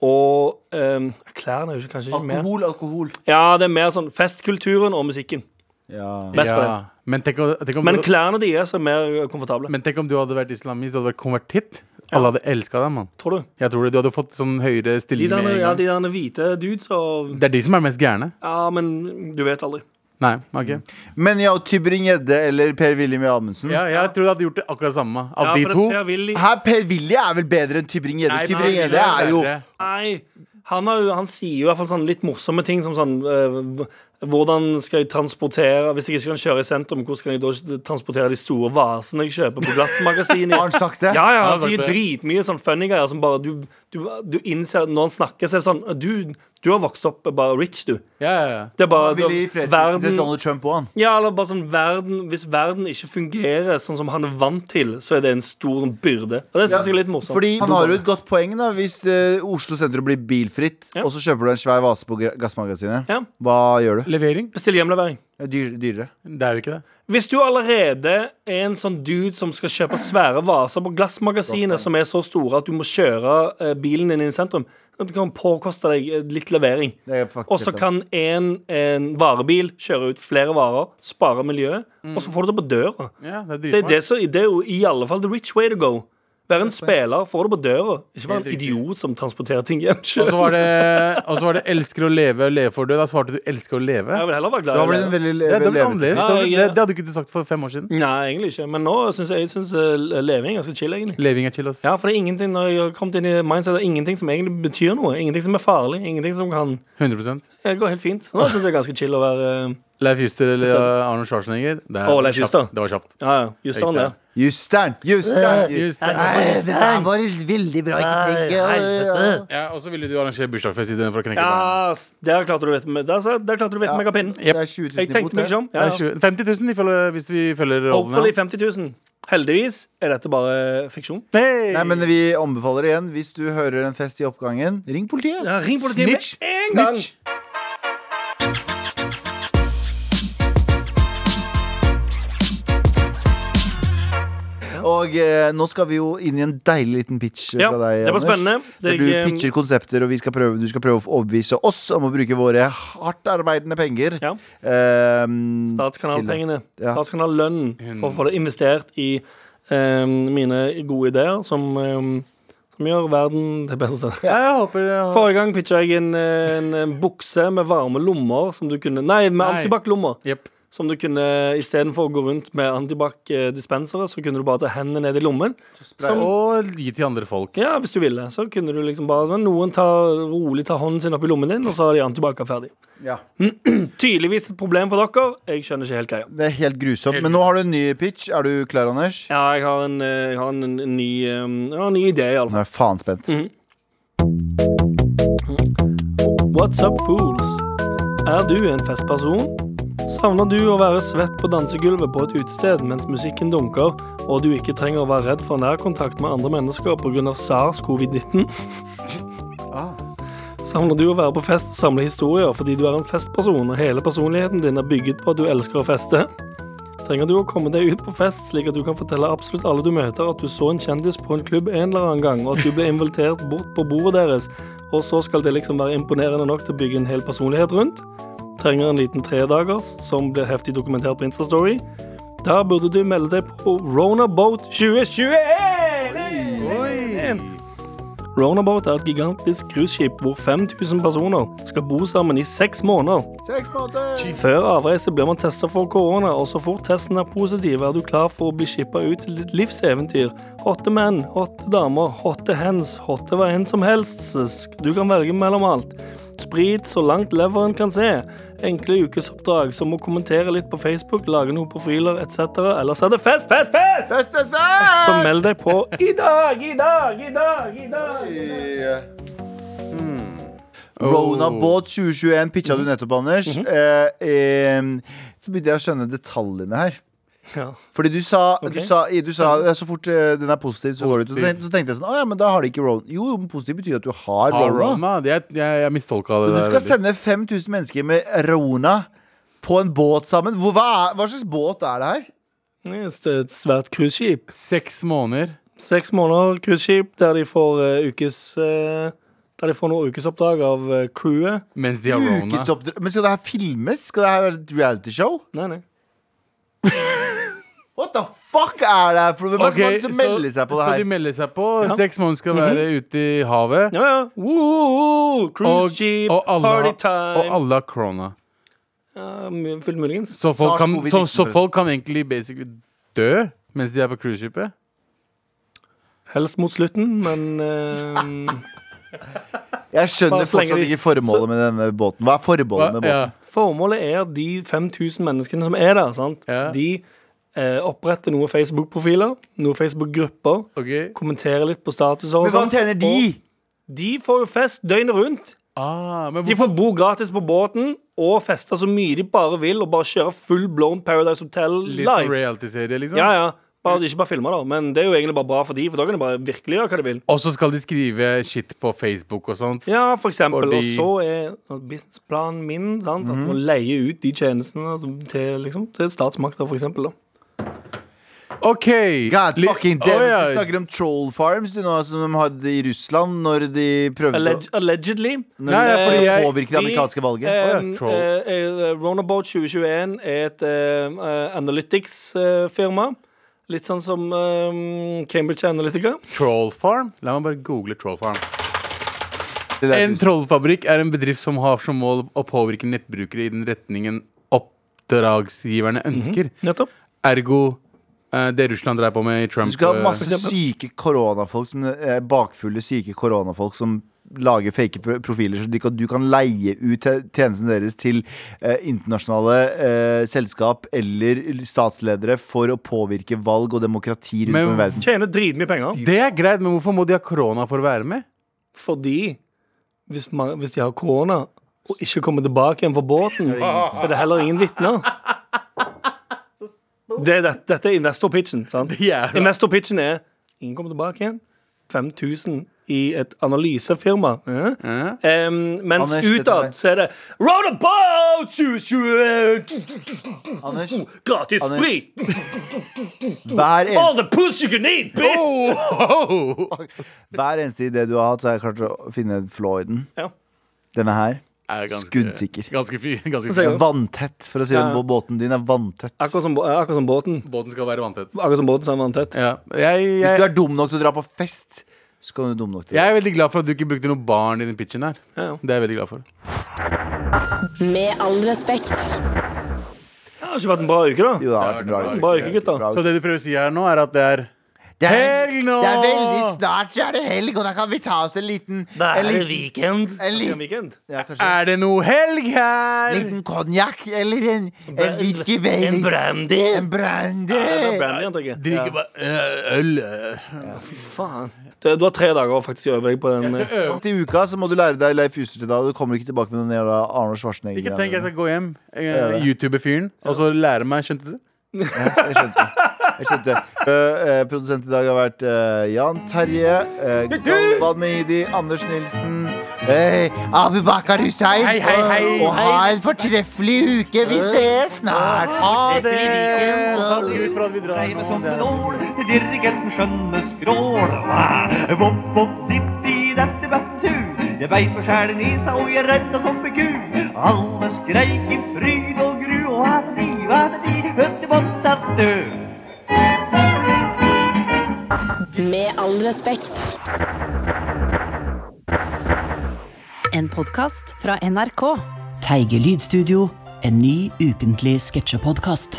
Speaker 3: og eh, Klærne er jo ikke- kanskje ikke mer.
Speaker 2: Alkohol, alkohol.
Speaker 3: Ja, det er mer sånn festkulturen og musikken.
Speaker 2: Ja.
Speaker 3: Best på
Speaker 4: ja.
Speaker 3: det.
Speaker 4: Men, tenk, om- tenk om
Speaker 3: Men
Speaker 4: du,
Speaker 3: klærne deres er mer komfortable.
Speaker 4: men tenk om du hadde vært islamist, du hadde vært konvertitt. Alle hadde elska deg, mann.
Speaker 3: tror du?
Speaker 4: Jeg tror det, Du hadde fått sånn høyere
Speaker 3: De
Speaker 4: stilling
Speaker 3: der,
Speaker 4: med en
Speaker 3: ja,
Speaker 4: gang.
Speaker 3: de der hvite dudes og
Speaker 4: Det er de som er mest gærne.
Speaker 3: Ja, men du vet aldri.
Speaker 4: Nei, ok
Speaker 2: Men ja, Tybring-Gjedde eller Per-William Amundsen?
Speaker 4: Ja, jeg tror du hadde gjort det akkurat samme. Av
Speaker 3: ja,
Speaker 4: de
Speaker 3: for
Speaker 4: to.
Speaker 3: Per Willy
Speaker 2: Her, Per-Willy er vel bedre enn Tybring-Gjedde?
Speaker 4: Nei, men
Speaker 2: Tybring-Gjedde
Speaker 4: han
Speaker 2: er jo
Speaker 4: bedre.
Speaker 3: Nei, han, har, jo- han sier jo i hvert fall sånn litt morsomme ting som sånn eh, hv- Hvordan skal jeg transportere Hvis jeg ikke kan kjøre i sentrum, hvordan skal jeg da transportere de store vasene jeg kjøper på
Speaker 2: Har han
Speaker 3: glassmagasinet?
Speaker 2: sagt det?
Speaker 3: Ja, ja,
Speaker 4: Han har
Speaker 3: han sier
Speaker 4: sagt det.
Speaker 3: dritmye sånn funny greier som bare du, du, du innser Når han snakker, så er det sånn Du, du har vokst opp bare rich, du.
Speaker 4: Ja, ja, ja.
Speaker 3: Det er bare
Speaker 2: Han ville gi
Speaker 3: da-
Speaker 2: fredsprisen til
Speaker 3: altså, verden,
Speaker 2: Donald Trump òg, han.
Speaker 3: ja, eller bare sånn verden Hvis verden ikke fungerer sånn som han er vant til, så er det en stor byrde. Og det syns jeg er litt morsomt.
Speaker 2: Fordi han har jo et godt poeng, da. Hvis eh, Oslo sentrum blir bilfritt,
Speaker 3: Ja.
Speaker 2: og så kjøper du en svær vase på Gra- Gassmagasinet,
Speaker 3: Ja.
Speaker 2: hva gjør du?
Speaker 4: Levering.
Speaker 3: Bestill hjemlevering.
Speaker 2: Dyr, dyrere.
Speaker 4: Det er jo ikke det.
Speaker 3: Hvis du allerede er en sånn dude som skal kjøpe svære vaser på glassmagasiner som er så store at du må kjøre eh, bilen din inn i sentrum, det kan påkoste deg eh, litt levering.
Speaker 2: Det er faktisk
Speaker 3: Og så
Speaker 2: helt
Speaker 3: kan en, en varebil kjøre ut flere varer, spare miljøet, og
Speaker 2: Mm.
Speaker 3: så får du det på døra.
Speaker 4: Ja, det er
Speaker 3: Det er,
Speaker 4: dritsmart.
Speaker 3: det, som- det er jo i alle fall the rich way to go. Være en spiller, få det på døra. Ikke være
Speaker 4: Helt
Speaker 3: en
Speaker 4: riktig.
Speaker 3: idiot som transporterer ting hjem.
Speaker 4: Og så
Speaker 3: selv.
Speaker 4: var det Og så var det 'elsker å leve, leve for å dø'. Da svarte du 'elsker å leve'.
Speaker 3: Jeg vil heller være
Speaker 2: Da blir
Speaker 3: glad i
Speaker 2: det en
Speaker 3: det.
Speaker 2: veldig
Speaker 4: Det, det,
Speaker 2: veldig
Speaker 4: var
Speaker 2: levende
Speaker 4: annerledes.
Speaker 3: Ja,
Speaker 4: det, var-
Speaker 3: jeg-
Speaker 4: det, det hadde du ikke sagt for fem år siden.
Speaker 3: Nei, egentlig ikke. Men nå syns jeg, jeg synes, eh, leving er ganske chill, egentlig.
Speaker 4: Leving er chill, ass.
Speaker 3: Ja, for det er ingenting når jeg har kommet inn i mindset, det er ingenting som egentlig betyr noe. Ingenting som er farlig. Ingenting som kan
Speaker 4: 100
Speaker 3: Det går helt fint. Nå syns jeg det er ganske chill å være eh,
Speaker 4: Leif Juster eller
Speaker 3: Så-
Speaker 4: uh, Arnold Schwarzenegger. Det, er-
Speaker 3: Å, Leif
Speaker 4: kjapt.
Speaker 3: Juster.
Speaker 4: det var kjapt.
Speaker 3: Ja, sånn, ja. Justeren der.
Speaker 2: Justern!
Speaker 3: Eh,
Speaker 2: Justern!
Speaker 4: Just,
Speaker 2: Nei, Det der var veldig bra. Ikke tenk. Ja, ja, ja.
Speaker 4: ja, og så ville du arrangere bursdagsfest istedenfor å knekke beina.
Speaker 3: Ja, s- der klarte du vettet med der, sa- der klarte du vettet
Speaker 2: Ja.
Speaker 3: meg av pinnen.
Speaker 2: Det er 20 000
Speaker 3: Jeg tenkte sånn. meg
Speaker 2: imot
Speaker 3: ikke
Speaker 2: det.
Speaker 3: om.
Speaker 4: Det er
Speaker 3: Ja, ja.
Speaker 4: 20 50 000 ifølge- hvis vi følger rollene
Speaker 3: Hopefully
Speaker 4: hans.
Speaker 3: 50 000. Heldigvis er dette bare fiksjon.
Speaker 4: Hey!
Speaker 2: Nei, men vi anbefaler igjen, hvis du hører en fest i oppgangen, ring politiet.
Speaker 3: Ja, ring politiet med
Speaker 4: Snitch.
Speaker 3: en gang!
Speaker 4: Snitch.
Speaker 2: Og eh, nå skal vi jo inn i en deilig liten pitch eh,
Speaker 3: Ja,
Speaker 2: fra deg,
Speaker 3: det var spennende. eh,
Speaker 2: Der
Speaker 3: Det-
Speaker 2: du pitcher konsepter, og vi skal prøve, du skal prøve å overbevise oss om å bruke våre hardtarbeidende penger.
Speaker 3: Ja.
Speaker 2: Eh,
Speaker 3: Statskanalpengene.
Speaker 2: Ja.
Speaker 3: Statskanallønnen. For å få det investert i eh, mine gode ideer, som, eh, som gjør verden til beste sted.
Speaker 4: Ja, jeg håper det.
Speaker 3: Forrige gang pitcha jeg en, en, en bukse med varme lommer som du kunne Nei, med
Speaker 4: Nei.
Speaker 3: antibac-lommer.
Speaker 4: Jepp.
Speaker 3: Som du kunne istedenfor å gå rundt med antibac-dispensere, så kunne du bare ta hendene ned i lommen. Som,
Speaker 4: Og gi til andre folk.
Speaker 3: ja, hvis du ville. Så kunne du liksom bare sånn, Noen tar, rolig tar hånden sin opp i lommen din, og så har de antibac-a ferdig.
Speaker 2: ja.
Speaker 3: Tydeligvis et problem for dere. Jeg skjønner ikke helt greia.
Speaker 2: Det er helt grusomt. Men nå har du en ny pitch. Er du klar, Anders?
Speaker 3: Ja, jeg har en, eh, jeg har en, en, en ny, um, jeg har en ny idé,
Speaker 2: Nå
Speaker 3: iallfall.
Speaker 2: er jeg faen spent.
Speaker 3: What's up, fools? Er du en festperson? Savner du å være svett på dansegulvet på et utested mens musikken dunker, og du ikke trenger å være redd for nærkontakt med andre mennesker pga. sars-covid-19?
Speaker 2: Ah.
Speaker 3: Savner du å være på fest og samle historier fordi du er en festperson, og hele personligheten din er bygget på at du elsker å feste? Trenger du å komme deg ut på fest, slik at du kan fortelle absolutt alle du møter at du så en kjendis på en klubb en eller annen gang, og at du ble invitert bort på bordet deres, og så skal det liksom være imponerende nok til å bygge en hel personlighet rundt? Trenger en liten tredagers, som blir heftig dokumentert på Instastory? Da burde du melde deg på Rona Boat 2021! Rona Boat er et gigantisk cruiseskip hvor 5000 personer skal bo sammen i seks måneder.
Speaker 2: Seks måneder!
Speaker 3: Før avreise blir man testa for korona, og så fort testen er positiv, er du klar for å bli shippa ut til ditt livseventyr. Hotte menn, hotte damer, hotte hens, hotte hva enn som helst. sisk. Du kan velge mellom alt. Sprit så langt leveren kan se. Enkle ukesoppdrag som å kommentere litt på Facebook, lage noen profiler etc. Ellers er det fest, fest, fest!
Speaker 2: Fest, fest,
Speaker 3: Så
Speaker 2: fest!
Speaker 3: meld deg på i dag, i dag, i dag, i dag.
Speaker 2: Mm. Rona Båt 2021 pitcha du nettopp, Anders. eh, eh, så begynte jeg å skjønne detaljene her.
Speaker 3: Ja.
Speaker 2: Fordi du sa, du
Speaker 3: Ok.
Speaker 2: sa, du sa ja, så fort eh, den er positiv, så går det ut. Så
Speaker 4: Positiv.
Speaker 2: tenkte, så tenkte jeg sånn, å ja, men da har de ikke rona. Jo, jo, men positiv betyr at du har
Speaker 4: Ah,
Speaker 2: rona.
Speaker 4: Roma. Jeg, jeg, jeg mistolka
Speaker 2: Så
Speaker 4: det
Speaker 2: du
Speaker 4: der.
Speaker 2: skal
Speaker 4: veldig.
Speaker 2: sende 5000 mennesker med rona på en båt sammen. Hvor, hva, er, hva slags båt er det her?
Speaker 3: Det er et svært cruiseskip.
Speaker 4: Seks måneder.
Speaker 3: seks måneder cruiseskip, der de får eh, ukes eh, Der de får noen ukesoppdrag av eh, crewet.
Speaker 4: Mens de har rona.
Speaker 2: Ukesoppdra- Men skal det her filmes? Skal det her være et realityshow?
Speaker 3: Nei, nei.
Speaker 2: What the fuck er det her for noe? Hvem
Speaker 4: Ok,
Speaker 2: er det som har lyst til å melde seg på det
Speaker 4: så de
Speaker 2: her?
Speaker 4: melder seg på. Seks måneder skal være ute i havet.
Speaker 3: Ja, ja. Woo,
Speaker 4: Og,
Speaker 3: cruiseskip,
Speaker 4: og, alle har,
Speaker 3: party time.
Speaker 4: og alle har corona.
Speaker 3: Ja, mu- fullt muligens.
Speaker 4: Så folk, kan,
Speaker 2: SARS-CoV-19
Speaker 4: så, så folk kan egentlig basically dø mens de er på cruiseskipet?
Speaker 3: Helst mot slutten, men eh,
Speaker 2: Jeg skjønner
Speaker 3: Bare slenger
Speaker 2: fortsatt
Speaker 3: de-
Speaker 2: ikke formålet med denne båten. Hva er formålet med
Speaker 4: Ja.
Speaker 2: båten?
Speaker 3: Formålet er at de 5000 menneskene som er der, sant?
Speaker 4: Ja.
Speaker 3: de eh, oppretter noen Facebook-profiler, noen Facebook-grupper,
Speaker 4: Ok.
Speaker 3: kommenterer litt på statuser og
Speaker 2: Men hva
Speaker 3: sånn.
Speaker 2: tjener de?
Speaker 3: Og de får jo fest døgnet rundt.
Speaker 4: Ah, men
Speaker 3: De
Speaker 4: hvorfor,
Speaker 3: får bo gratis på båten og feste så mye de bare vil, og bare kjøre full blown Paradise Hotel
Speaker 4: litt sånn
Speaker 3: live.
Speaker 4: reality-serie, liksom?
Speaker 3: Ja, ja. Bare, ikke bare filmer, da. Men det er jo egentlig bare bra for de, for da kan de bare virkelig gjøre hva de vil.
Speaker 4: Og så skal de skrive shit på Facebook og sånt.
Speaker 3: Ja, for eksempel.
Speaker 4: Fordi- Mhm.
Speaker 3: Og så er businessplanen min sant? at man leier ut de tjenestene altså, til, liksom, til statsmakter, for eksempel. Da.
Speaker 4: OK.
Speaker 2: God
Speaker 4: Li-
Speaker 2: fucking damn
Speaker 4: Oi,
Speaker 2: it.
Speaker 4: oi.
Speaker 2: Du snakker om troll farms du, nå, altså, som de hadde i Russland når de prøvde
Speaker 3: Alleg
Speaker 2: å
Speaker 3: allegedly.
Speaker 2: når de
Speaker 4: Nei,
Speaker 2: prøvde
Speaker 4: fordi jeg-
Speaker 2: å påvirke det
Speaker 3: de-
Speaker 2: amerikanske valget.
Speaker 4: ja,
Speaker 3: Um,
Speaker 4: troll.
Speaker 3: eh, eh, Roundabout 2021 er et eh, analytics-firma. eh, Litt sånn som eh, Cambridge Analytica.
Speaker 4: Troll Farm? La meg bare google Troll Farm.
Speaker 2: Det der-
Speaker 4: En trollfabrikk er en bedrift som har som mål å påvirke nettbrukere i den retningen
Speaker 2: Mhm.
Speaker 4: oppdragsgiverne ønsker.
Speaker 3: Nettopp.
Speaker 4: Ergo eh, det Russland dreier på med i
Speaker 2: du
Speaker 4: Trump
Speaker 2: skal ha
Speaker 4: eh,
Speaker 2: masse syke koronafolk som eh, bakfulle syke koronafolk som lager fake pro- profiler, så de kan, du kan leie ut te- tjenesten deres til eh, internasjonale eh, selskap eller statsledere for å påvirke valg og demokrati rundt
Speaker 4: Men-
Speaker 2: om i verden.
Speaker 3: Tjener dritmye penger.
Speaker 4: eh, Det er greit, men hvorfor må de ha korona for å være med?
Speaker 3: Fordi hvis, man, hvis de har korona og ikke kommer tilbake igjen fra båten, så er det heller ingen vitner. Det, er det, dette er investor-pitchen. sant?
Speaker 4: Jævla.
Speaker 3: Investor-pitchen er ingen kommer tilbake igjen. 5000 i et analysefirma. Eh? Em, mens
Speaker 2: Anders, dette er
Speaker 3: utad
Speaker 2: deg.
Speaker 3: så er det Roundabout 2021!
Speaker 2: Anders,
Speaker 3: eh, Gratis
Speaker 2: Anders.
Speaker 3: sprit!
Speaker 2: hver,
Speaker 3: All
Speaker 2: en,
Speaker 3: the puss you can
Speaker 2: Oh.
Speaker 3: eat, bitch!
Speaker 2: hver eneste idé du har hatt, så har jeg klart å finne en flå i den.
Speaker 3: Ja.
Speaker 2: Denne her.
Speaker 4: Er ganske-
Speaker 2: Skuddsikker.
Speaker 4: Ganske fy, ganske
Speaker 3: Så
Speaker 4: fy.
Speaker 3: jeg-
Speaker 2: Den er vanntett, for å si det.
Speaker 3: Ja.
Speaker 2: Båten din er vanntett.
Speaker 3: Akkurat som, akkurat som båten.
Speaker 4: Båten skal være vanntett.
Speaker 3: Akkurat som båten, så er man tett.
Speaker 4: Ja. Jeg,
Speaker 2: Hvis du
Speaker 4: jeg,
Speaker 2: er dum nok til å dra på fest, så kan du være dum nok til det.
Speaker 4: jeg er veldig glad for at du ikke brukte noe barn i den pitchen her.
Speaker 3: Ja, ja.
Speaker 4: Det er jeg veldig glad for.
Speaker 1: Med all respekt.
Speaker 3: Det har ikke vært en bra uke, da.
Speaker 2: Jo, det har vært en bra uke.
Speaker 3: Bra uke, gutter.
Speaker 2: Bra
Speaker 4: Så det du prøver å si her nå, er at det er
Speaker 2: Det er,
Speaker 4: Helg nå!
Speaker 2: det er veldig snart så er det helg, og da kan vi ta oss en liten en liten,
Speaker 3: weekend.
Speaker 2: en liten-
Speaker 3: weekend.
Speaker 2: ja, kanskje
Speaker 4: Er det noe helg her?
Speaker 2: en liten konjakk eller en, en whisky
Speaker 3: En
Speaker 2: Baileys.
Speaker 3: brandy.
Speaker 2: En brandy.
Speaker 3: Ja, det er brandy, antar jeg.
Speaker 4: Drikker bare øh, øl.
Speaker 3: Faen. Du, du har tre dager å faktisk øve deg på den. eh.
Speaker 2: Til uka så må du lære deg Leif Juster til da, og du kommer ikke tilbake med noen jævla Arnold
Speaker 4: Ikke tenk jeg
Speaker 2: Schwarzenegger.
Speaker 4: skal gå hjem, eh, youtube fyren, og så lære meg, skjønte du?
Speaker 2: Jeg skjønte. Jeg skjønte. Ø, ø, produsent i dag har vært ø, Jan Terje, uh, Galvan Mehidi, Anders Nilsen, uh, Abu Bakar Hussein.
Speaker 4: Hei, hei, hei. Eh.
Speaker 2: Og ha en fortreffelig uke. Vi ses snart.
Speaker 4: Ha det! Pass ut for at vi drar
Speaker 6: Reine
Speaker 4: nå.
Speaker 6: som
Speaker 4: Det er-
Speaker 6: flår, dirigenten skjønne skrål. Ah, Vopp, vopp, dipp, i dette battu. Jeg beit for sjelen i seg, og jeg redda som en ku. Alle skreik i fryd og gru, og hva er det de, hva er det de, høtte vått at dø.
Speaker 1: Med all respekt.
Speaker 7: En podkast fra NRK. Teige lydstudio. En ny ukentlig sketsjepodkast.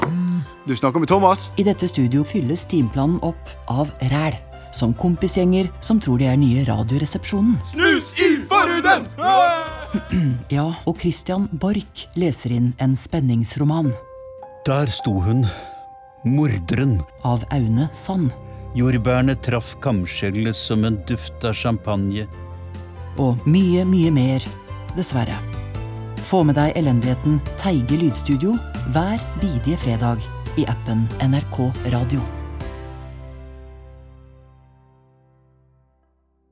Speaker 2: Du snakker med Thomas.
Speaker 7: I dette studio fylles timeplanen opp av ræl. Som kompisgjenger som tror de er nye Radioresepsjonen. Snus i forhuden! ja, og Christian Borch leser inn en spenningsroman
Speaker 8: Der sto hun, morderen.
Speaker 7: av Aune Sand.
Speaker 8: Jordbærene traff kamskjellet som en duft av champagne.
Speaker 7: Og mye, mye mer, dessverre. Få med deg elendigheten Teige lydstudio hver bidige fredag i appen NRK Radio.